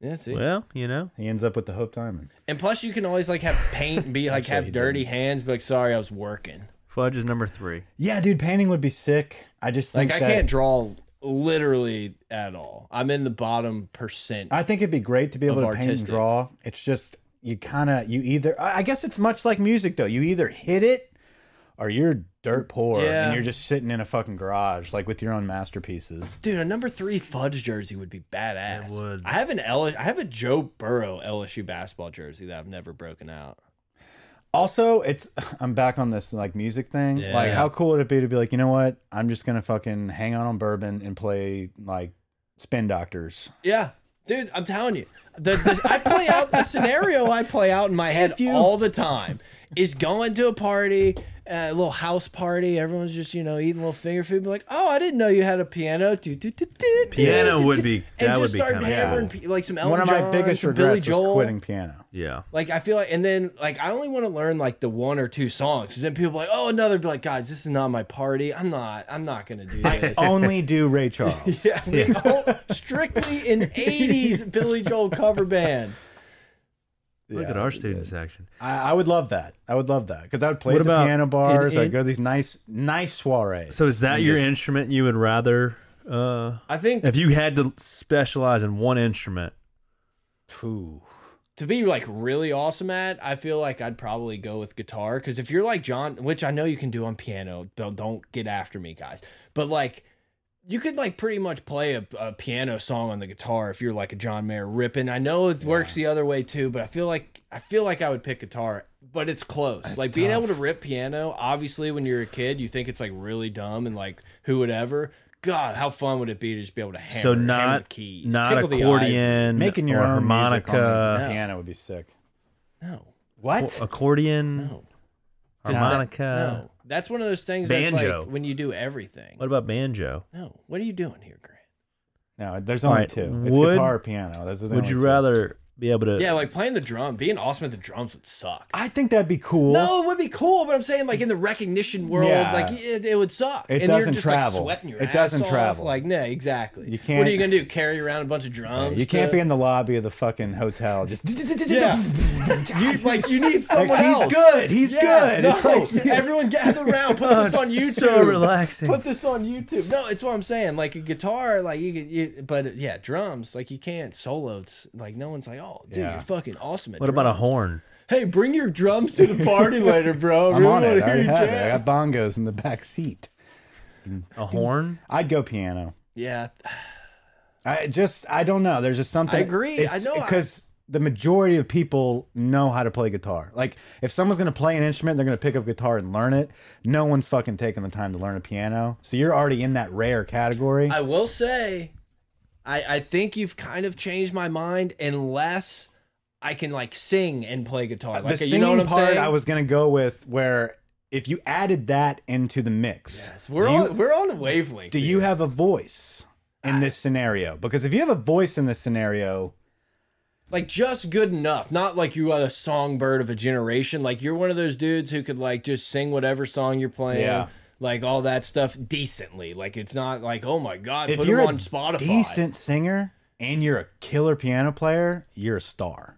Speaker 1: yeah, see.
Speaker 3: Well, you know,
Speaker 2: He ends up with the Hope Diamond.
Speaker 1: And plus, you can always like have paint and be like
Speaker 2: Actually, he
Speaker 1: have dirty hands, but like sorry, I was working.
Speaker 3: Fudge is number three.
Speaker 2: Yeah, dude, painting would be sick. I just
Speaker 1: Like
Speaker 2: think
Speaker 1: I
Speaker 2: that-
Speaker 1: can't draw literally at all. I'm in the bottom percent.
Speaker 2: I think it'd be great to be able to
Speaker 1: of
Speaker 2: paint and
Speaker 1: artistic.
Speaker 2: draw. It's just you kind of you either. I I guess it's much like music though. You either hit it or you're dirt poor
Speaker 1: Yeah.
Speaker 2: and you're just sitting in a fucking garage like with your own masterpieces.
Speaker 1: Dude, a number three fudge jersey would be badass.
Speaker 3: It would.
Speaker 1: I have an L. I have a Joe Burrow LSU basketball jersey that I've never broken out.
Speaker 2: Also, it's I'm back on this like music thing. Like,
Speaker 1: Yeah.
Speaker 2: how cool would it be to be like, you know what? I'm just gonna fucking hang out on bourbon and play like spin doctors.
Speaker 1: Yeah, dude, I'm telling you, the, the I play out the scenario I play out in my head
Speaker 2: If you-
Speaker 1: all the time is going to a party, a little house party. Everyone's just you know eating a little finger food. Be like, oh, I didn't know you had a piano. Do, do, do, do, do,
Speaker 3: Piano
Speaker 1: do,
Speaker 3: would
Speaker 1: do."
Speaker 3: be-
Speaker 1: and
Speaker 3: that would
Speaker 1: just
Speaker 3: be
Speaker 1: start
Speaker 3: kinda
Speaker 1: hammering
Speaker 2: cool.
Speaker 1: pe- like some Elton
Speaker 2: One of my
Speaker 1: Oh, John,
Speaker 2: biggest
Speaker 1: some Billy
Speaker 2: regrets
Speaker 1: Joel.
Speaker 2: was quitting piano.
Speaker 3: Yeah.
Speaker 1: Like I feel like, and then like I only want to learn like the one or two songs. Then people are like, oh, another be like, guys, this is not my party. I'm not. I'm not gonna do this.
Speaker 2: Only do Ray Charles.
Speaker 1: Yeah, we all- strictly an '80s Billy Joel cover band.
Speaker 3: Look at our student section.
Speaker 2: I, I would love that. I would love that because I would play
Speaker 3: What
Speaker 2: at the
Speaker 3: about
Speaker 2: piano bars.
Speaker 3: in-
Speaker 2: I'd go to these nice, nice soirees.
Speaker 3: So is that
Speaker 2: And
Speaker 3: your
Speaker 2: just-
Speaker 3: instrument you would rather? Uh,
Speaker 1: I think
Speaker 3: if you had to specialize in one instrument,
Speaker 2: Ooh.
Speaker 1: to be like really awesome at, I feel like I'd probably go with guitar because if you're like John, which I know you can do on piano, don't don't get after me, guys. But like, you could like pretty much play a, a piano song on the guitar if you're like a John Mayer ripping. I know it works the other way too, but I feel like I feel like I would pick guitar, but it's close. like being able to rip piano, obviously when you're a kid, you think it's like really dumb and like who would ever. God, how fun would it be to just be able to hammer,
Speaker 3: so
Speaker 1: hammer
Speaker 3: not
Speaker 1: keys,
Speaker 3: not
Speaker 1: tickle the ivory.
Speaker 3: accordion,
Speaker 2: making your
Speaker 3: or
Speaker 2: own harmonica music on the
Speaker 3: harmonica,
Speaker 2: piano would be sick.
Speaker 1: No,
Speaker 2: What?
Speaker 3: accordion,
Speaker 1: no.
Speaker 3: harmonica.
Speaker 1: No, that's one of those things that's
Speaker 3: Banjo.
Speaker 1: like when you do everything.
Speaker 3: What about banjo?
Speaker 1: No, what are you doing here, Grant?
Speaker 2: No, there's only
Speaker 3: right,
Speaker 2: two. It's
Speaker 3: would-
Speaker 2: guitar, or piano. Those are the
Speaker 3: Would
Speaker 2: only
Speaker 3: you
Speaker 2: two.
Speaker 3: rather be able to?
Speaker 1: Yeah, like playing the drum, being awesome at the drums would suck.
Speaker 2: I think that'd be cool.
Speaker 1: No, it would be cool, but I'm saying like in the recognition world,
Speaker 2: Yeah.
Speaker 1: like it, it would suck.
Speaker 2: It
Speaker 1: and
Speaker 2: doesn't
Speaker 1: you're just
Speaker 2: travel.
Speaker 1: Like, sweating your
Speaker 2: It
Speaker 1: ass
Speaker 2: doesn't
Speaker 1: off.
Speaker 2: travel.
Speaker 1: Like, no, exactly.
Speaker 2: You
Speaker 1: What
Speaker 2: can't-
Speaker 1: are you gonna do? Carry around a bunch of drums?
Speaker 2: You can't
Speaker 1: to-
Speaker 2: be in the lobby of the fucking hotel. Just
Speaker 1: Yeah. you like you need someone
Speaker 2: he's
Speaker 1: else.
Speaker 2: good. He's
Speaker 1: Yeah,
Speaker 2: good.
Speaker 1: no,
Speaker 2: It's Oh, cool.
Speaker 1: like, everyone gather around. Put this on YouTube.
Speaker 3: So relaxing.
Speaker 1: Put this on YouTube. No, it's what I'm saying. Like a guitar, like you, could- you but yeah, drums. Like you can't solo. It's, like no one's like, oh, dude,
Speaker 2: Yeah.
Speaker 1: you're fucking awesome. At
Speaker 3: what about a
Speaker 1: drums."
Speaker 3: horn?
Speaker 1: Hey, bring your drums to the party later, bro. I
Speaker 2: I'm
Speaker 1: really
Speaker 2: on
Speaker 1: wanna
Speaker 2: it. I
Speaker 1: hear
Speaker 2: already
Speaker 1: you
Speaker 2: have it.
Speaker 1: jam.
Speaker 2: I got bongos in the back seat.
Speaker 3: A horn?
Speaker 2: I'd go piano.
Speaker 1: Yeah,
Speaker 2: I just I don't know. There's just something.
Speaker 1: I agree.
Speaker 2: It's-
Speaker 1: I know I-
Speaker 2: because the majority of people know how to play guitar. Like if someone's gonna play an instrument, they're gonna pick up guitar and learn it. No one's fucking taking the time to learn a piano. So you're already in that rare category.
Speaker 1: I will say, I I think you've kind of changed my mind, unless. I can like sing and play guitar. Like
Speaker 2: Uh, the
Speaker 1: you
Speaker 2: singing
Speaker 1: know what I'm
Speaker 2: part
Speaker 1: saying?
Speaker 2: I was gonna go with where if you added that into the mix,
Speaker 1: Yes, we're
Speaker 2: do you-
Speaker 1: on we're on a wavelength.
Speaker 2: do
Speaker 1: here.
Speaker 2: you have a voice in this scenario? Because if you have a voice in this scenario,
Speaker 1: like just good enough? Not like you are a songbird of a generation. Like you're one of those dudes who could like just sing whatever song you're playing.
Speaker 2: Yeah.
Speaker 1: Like all that stuff decently. Like it's not like oh my god,
Speaker 2: if
Speaker 1: put
Speaker 2: you're
Speaker 1: him
Speaker 2: a
Speaker 1: on Spotify.
Speaker 2: decent singer and you're a killer piano player, you're a star.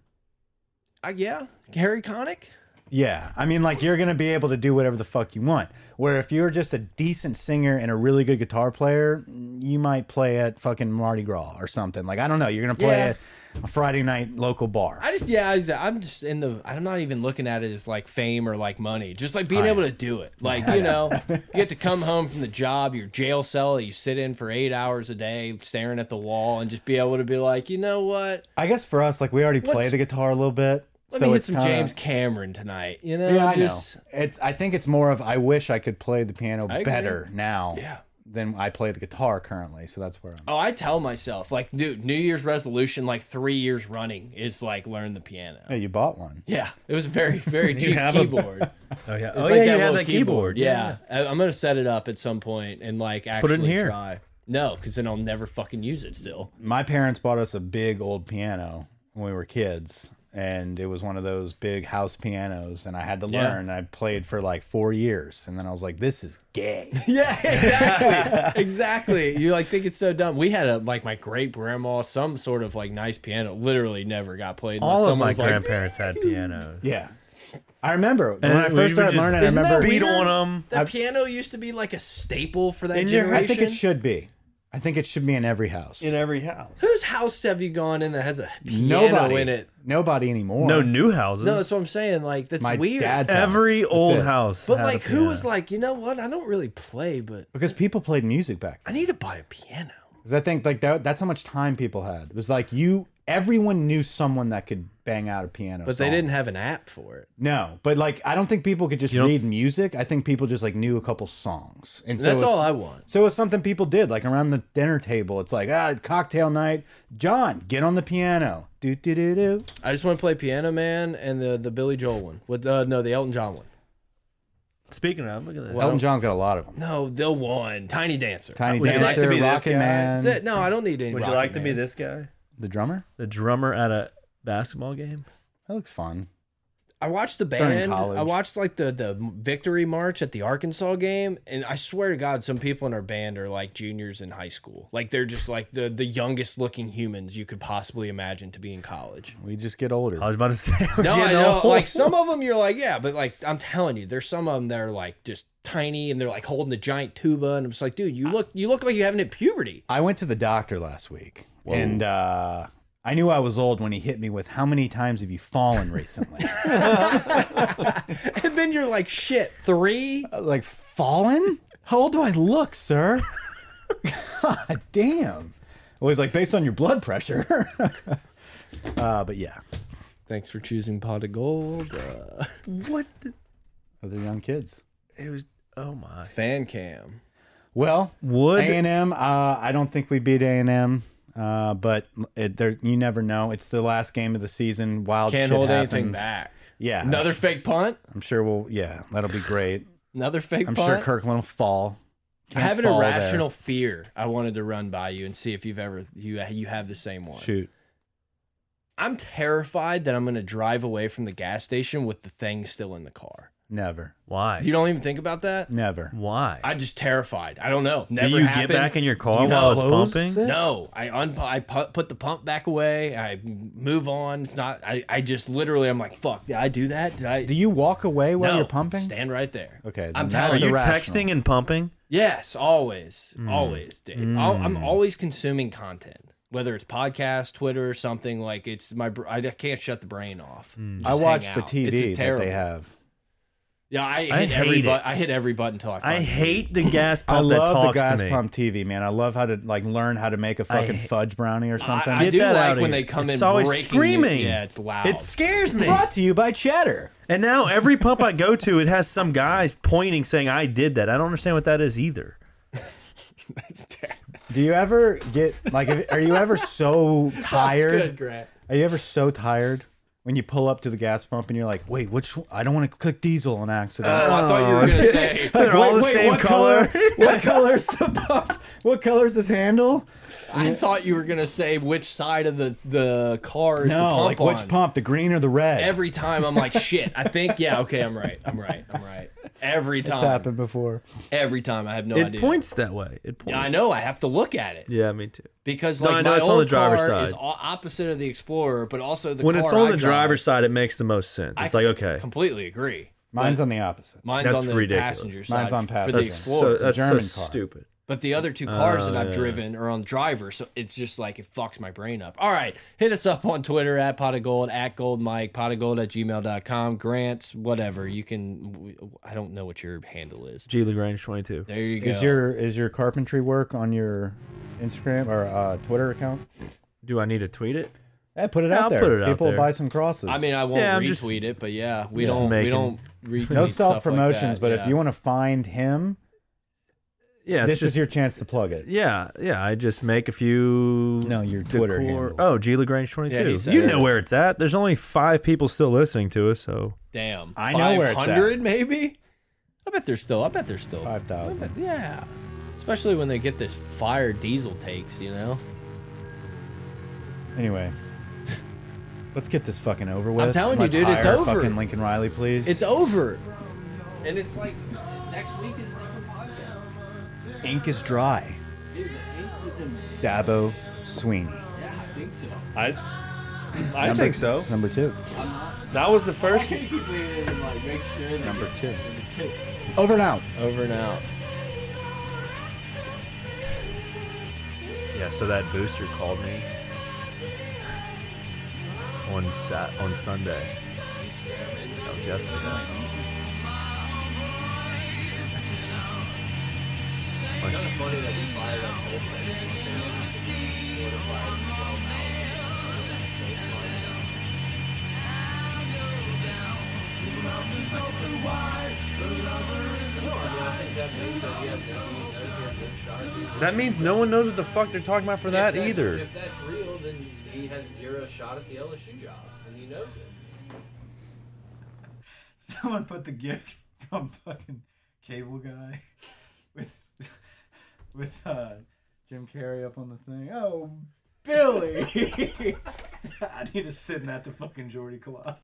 Speaker 1: I, yeah, Harry Connick.
Speaker 2: Yeah, I mean, like you're gonna be able to do whatever the fuck you want. Where if you're just a decent singer and a really good guitar player, you might play at fucking Mardi Gras or something. Like I don't know, you're gonna play
Speaker 1: Yeah.
Speaker 2: at a Friday night local bar.
Speaker 1: I just yeah, I was- I'm just in the. I'm not even looking at it as like fame or like money. Just like being able to do it. Like you know, you get to come home from the job, your jail cell that you sit in for eight hours a day, staring at the wall, and just be able to be like, you know what?
Speaker 2: I guess for us, like we already play
Speaker 1: Let's-
Speaker 2: the guitar a little bit.
Speaker 1: Let
Speaker 2: so
Speaker 1: me hit
Speaker 2: it's
Speaker 1: some
Speaker 2: kinda-
Speaker 1: James Cameron tonight. You know,
Speaker 2: Yeah, I
Speaker 1: just
Speaker 2: know. It's. I think it's more of I wish I could play the piano
Speaker 1: I agree.
Speaker 2: better now.
Speaker 1: yeah.
Speaker 2: than I play the guitar currently. So that's where I'm.
Speaker 1: Oh, I tell myself like, dude, New Year's resolution like three years running is like learn the piano.
Speaker 2: Hey, you bought one.
Speaker 1: Yeah, it was very very cheap
Speaker 3: have 'em.
Speaker 1: keyboard.
Speaker 3: Oh yeah.
Speaker 1: It's
Speaker 3: oh
Speaker 1: like
Speaker 3: yeah.
Speaker 1: that
Speaker 3: you have
Speaker 1: little
Speaker 3: that keyboard.
Speaker 1: Yeah, I, am gonna set it up at some point and like
Speaker 3: put
Speaker 1: actually
Speaker 3: it in here.
Speaker 1: try. No, because then I'll never fucking use it. Still,
Speaker 2: My parents bought us a big old piano when we were kids, and it was one of those big house pianos. And I had to
Speaker 1: Yeah.
Speaker 2: learn. I played for like four years, and then I was like, "This is gay."
Speaker 1: yeah, exactly, exactly. You like think it's so dumb. We had a like my great grandma, some sort of like nice piano. Literally never got played. unless
Speaker 3: All of my
Speaker 1: someone's like,
Speaker 3: grandparents had pianos.
Speaker 2: yeah, I remember when
Speaker 3: And
Speaker 2: I
Speaker 3: we
Speaker 2: first
Speaker 3: would
Speaker 2: started
Speaker 3: just-
Speaker 2: learning. I
Speaker 1: Isn't that
Speaker 2: remember
Speaker 3: Beat
Speaker 1: Weird.
Speaker 3: on them.
Speaker 1: The piano used to be like a staple for that
Speaker 3: In your-
Speaker 1: generation.
Speaker 2: I think it should be. I think it should be in every house.
Speaker 3: every house.
Speaker 1: Whose house have you gone in that has a piano
Speaker 2: Nobody
Speaker 1: in it?
Speaker 2: Nobody anymore.
Speaker 3: No new houses.
Speaker 1: No, that's what I'm saying. Like that's
Speaker 2: my
Speaker 1: weird.
Speaker 2: dad's house.
Speaker 3: every
Speaker 2: That's
Speaker 3: old
Speaker 2: it.
Speaker 3: house.
Speaker 1: but
Speaker 3: had a
Speaker 1: like, who was
Speaker 3: piano.
Speaker 1: like, you know what? I don't really play, but
Speaker 2: Because people played music back then.
Speaker 1: I need to buy a piano.
Speaker 2: Because I think like that, that's how much time people had. It was like you, everyone knew someone that could bang out a piano.
Speaker 1: But they didn't have an app for it.
Speaker 2: No, but like I don't think people could just
Speaker 3: don't-
Speaker 2: read music. I think people just like knew a couple songs, and so
Speaker 1: That's
Speaker 2: it's-
Speaker 1: all I want.
Speaker 2: So it's something people did, like around the dinner table. It's like ah, cocktail night. John, get on the piano. Do do do do.
Speaker 1: I just want to play Piano Man and the the Billy Joel one. With uh, no, the Elton John one.
Speaker 3: Speaking of, look at that.
Speaker 1: Well,
Speaker 2: Elton John's got a lot of them.
Speaker 1: No, the one Tiny Dancer.
Speaker 2: Tiny
Speaker 3: Would you
Speaker 2: Dancer,
Speaker 3: like to be this
Speaker 2: Rocket
Speaker 3: guy?
Speaker 2: Man,
Speaker 1: That's it. No, I don't need any.
Speaker 3: Would you
Speaker 1: Rocket
Speaker 3: like to be
Speaker 1: Man.
Speaker 3: this guy,
Speaker 2: the drummer.
Speaker 3: the drummer at a basketball game?
Speaker 2: That looks fun.
Speaker 1: I watched the
Speaker 2: During
Speaker 1: band.
Speaker 2: college.
Speaker 1: I watched like the the victory march at the Arkansas game, and I swear to God, some people in our band are like juniors in high school. Like they're just like the the youngest looking humans you could possibly imagine to be in college.
Speaker 2: We just get older.
Speaker 3: I was about to say. we're
Speaker 1: No, I
Speaker 3: getting
Speaker 1: know.
Speaker 3: old.
Speaker 1: Like some of them, you're like, yeah, but like I'm telling you, there's some of them that are like just tiny and they're like holding a giant tuba, and I'm just like, dude, you look you look like you haven't hit puberty.
Speaker 2: I went to the doctor last week, and uh, I knew I was old when he hit me with "How many times have you fallen recently?"
Speaker 1: And then you're like, shit, three.
Speaker 2: I was uh, like, "Fallen? How old do I look, sir?" God damn! It was like based on your blood pressure. uh, but yeah,
Speaker 1: Thanks for choosing pot of gold. Uh,
Speaker 3: what? The,
Speaker 2: those are young kids.
Speaker 3: it was. Oh my.
Speaker 1: fan cam.
Speaker 2: Well,
Speaker 3: Would-
Speaker 2: A and M? Uh, I don't think we beat A and M. Uh, but it, there, you never know. It's the last game of the season. Wild
Speaker 1: Can't
Speaker 2: shit
Speaker 1: hold
Speaker 2: happens.
Speaker 1: anything back.
Speaker 2: Yeah,
Speaker 1: Another fake punt.
Speaker 2: I'm sure we'll. Yeah, that'll be great.
Speaker 1: Another fake
Speaker 2: I'm
Speaker 1: punt.
Speaker 2: sure Kirkland will fall.
Speaker 1: I
Speaker 2: Can't
Speaker 1: have an
Speaker 2: fall there.
Speaker 1: irrational fear. I wanted to run by you and see if you've ever you you have the same one.
Speaker 2: shoot.
Speaker 1: I'm terrified that I'm going to drive away from the gas station with the thing still in the car.
Speaker 2: Never,
Speaker 3: Why?
Speaker 1: You don't even think about that.
Speaker 2: never.
Speaker 3: Why?
Speaker 1: I'm just terrified. I don't know.
Speaker 3: Do
Speaker 1: Never
Speaker 3: you
Speaker 1: happened.
Speaker 3: get back in your
Speaker 2: Do
Speaker 3: car
Speaker 2: you
Speaker 3: while it's
Speaker 2: close
Speaker 3: pumping?
Speaker 2: it?
Speaker 1: No, I un I pu put the pump back away. I move on. It's not. I I just literally I'm like fuck. Did I do that? Did I?
Speaker 2: Do you walk away while
Speaker 1: no.
Speaker 2: you're pumping?
Speaker 1: Stand right there.
Speaker 2: Okay, then
Speaker 1: I'm
Speaker 3: Are
Speaker 1: telling
Speaker 2: that's
Speaker 1: you.
Speaker 3: you
Speaker 2: irrational.
Speaker 3: texting and pumping?
Speaker 1: Yes, always, always, Dave. Al- I'm always consuming content, whether it's podcast, Twitter, or something like it's my. br- I can't shut the brain off. Just
Speaker 2: I
Speaker 1: hang
Speaker 2: watch the
Speaker 1: out. It's a
Speaker 2: TV that
Speaker 1: terrible-
Speaker 2: they have.
Speaker 1: Yeah, I hit
Speaker 3: I
Speaker 1: every
Speaker 3: hate
Speaker 1: button.
Speaker 3: it.
Speaker 1: I hit every button until I.
Speaker 3: I
Speaker 1: fucking-
Speaker 3: hate the gas
Speaker 2: I
Speaker 3: pump that
Speaker 2: love the
Speaker 3: talks
Speaker 2: gas
Speaker 3: to me.
Speaker 2: pump TV, man. I love how to like learn how to make a fucking
Speaker 3: hate-
Speaker 2: fudge brownie or
Speaker 1: I,
Speaker 2: something.
Speaker 1: I
Speaker 3: Get
Speaker 1: do
Speaker 3: that
Speaker 1: like
Speaker 3: outta
Speaker 1: when
Speaker 3: here.
Speaker 1: they come
Speaker 3: It's
Speaker 1: in
Speaker 3: always
Speaker 1: breaking.
Speaker 3: screaming.
Speaker 1: New- yeah, it's loud.
Speaker 3: It scares me.
Speaker 2: Brought to you by Cheddar.
Speaker 3: And now every pump I go to, it has some guy pointing saying, I did that. I don't understand what that is either.
Speaker 1: It's ter-
Speaker 2: Do you ever get like? if- Are you ever so
Speaker 1: Good,
Speaker 2: tired?
Speaker 1: Grant.
Speaker 2: Are you ever so tired when you pull up to the gas pump and you're like, "Wait, which? One? I don't want to click diesel on accident."
Speaker 1: Oh, I thought you were gonna say.
Speaker 3: Uh, They're all the same
Speaker 2: what
Speaker 3: color.
Speaker 2: what color's the pump? What color's this handle?
Speaker 1: I thought you were gonna say which side of the the car is the pump
Speaker 2: like
Speaker 1: on.
Speaker 2: which pump, the green or the red?
Speaker 1: Every time I'm like, shit. I think, yeah, okay, I'm right. I'm right. I'm right. Every
Speaker 2: it's
Speaker 1: time.
Speaker 2: happened before.
Speaker 1: Every time I have no
Speaker 3: it
Speaker 1: idea.
Speaker 3: points that way. It points.
Speaker 1: Yeah, I know. I have to look at it
Speaker 3: Yeah, me too.
Speaker 1: because
Speaker 3: No,
Speaker 1: like
Speaker 3: I know
Speaker 1: my
Speaker 3: it's on
Speaker 1: old
Speaker 3: the driver's
Speaker 1: car
Speaker 3: side.
Speaker 1: is o- opposite of the Explorer, but also the
Speaker 3: When
Speaker 1: car
Speaker 3: it's on
Speaker 1: I
Speaker 3: the
Speaker 1: drive,
Speaker 3: driver's side, it makes the most sense.
Speaker 1: I
Speaker 3: It's like, okay.
Speaker 1: completely agree.
Speaker 2: Mine's on the opposite.
Speaker 1: Mine's
Speaker 3: That's
Speaker 1: on the
Speaker 3: ridiculous.
Speaker 1: passenger side.
Speaker 2: Mine's on
Speaker 1: for
Speaker 2: passenger.
Speaker 1: the
Speaker 3: That's
Speaker 1: Explorer.
Speaker 3: so, uh, that's so
Speaker 2: German car.
Speaker 3: stupid.
Speaker 1: but the other two cars that I've driven are on driver, so it's just like it fucks my brain up. All right, hit us up on Twitter at pot of gold at gold mike pot of gold at gmail.com. Grants, whatever you can. I don't know what your handle is.
Speaker 3: G. LaGrange 22.
Speaker 1: There you go.
Speaker 2: Is your is your carpentry work on your Instagram or uh, Twitter account?
Speaker 3: Do I need to tweet it?
Speaker 2: Hey, put it
Speaker 3: Yeah,
Speaker 2: out
Speaker 3: I'll
Speaker 2: there.
Speaker 3: put it out
Speaker 2: People will
Speaker 3: there.
Speaker 2: buy some crosses.
Speaker 1: I mean, I won't
Speaker 3: Yeah, I'm
Speaker 1: retweet
Speaker 3: just-
Speaker 1: it, but yeah, we don't we
Speaker 3: making-
Speaker 1: don't retweet
Speaker 2: no
Speaker 1: stuff like
Speaker 2: self promotions,
Speaker 1: that,
Speaker 2: but
Speaker 1: yeah.
Speaker 2: if you want to find him,
Speaker 3: yeah, it's
Speaker 2: This is
Speaker 3: just-
Speaker 2: your chance to plug it.
Speaker 3: Yeah, yeah. I just make a few.
Speaker 2: No, your Twitter handle.
Speaker 3: Oh, G Lagrange twenty
Speaker 1: Yeah,
Speaker 3: two.
Speaker 1: he said
Speaker 3: you
Speaker 1: it.
Speaker 3: know where it's at. There's only five people still listening to us, so
Speaker 1: Damn.
Speaker 2: I know where it's at.
Speaker 1: 500 maybe? I bet they're still. I bet they're still.
Speaker 2: Five
Speaker 1: I
Speaker 2: thousand.
Speaker 1: bet- Yeah. Especially when they get this fire diesel takes, you know?
Speaker 2: Anyway, let's get this fucking over with.
Speaker 1: telling you,
Speaker 2: Let's
Speaker 1: dude, it's
Speaker 2: hire
Speaker 1: over.
Speaker 2: Fucking Lincoln Riley, please.
Speaker 1: It's over. And it's like next week is a different podcast.
Speaker 2: ink is dry.
Speaker 1: Dude, the ink was in.
Speaker 2: Dabo Sweeney.
Speaker 1: Yeah, I think so.
Speaker 3: I, I
Speaker 2: Number- Number two.
Speaker 3: That was the first.
Speaker 1: keep leaning in and like make sure that
Speaker 2: Number two.
Speaker 1: Number two.
Speaker 2: Over and out.
Speaker 1: Over and out.
Speaker 3: Yeah, so that booster called me on sat on Sunday. That was yesterday. My s- That means no one knows what the fuck they're talking about for that either.
Speaker 1: If that's real, then he has zero shot at the LSU job, and he knows it.
Speaker 2: Someone put the gif from fucking Cable Guy with with uh, Jim Carrey up on the thing. Oh, Billy! I need to send that to fucking Jordy Clark.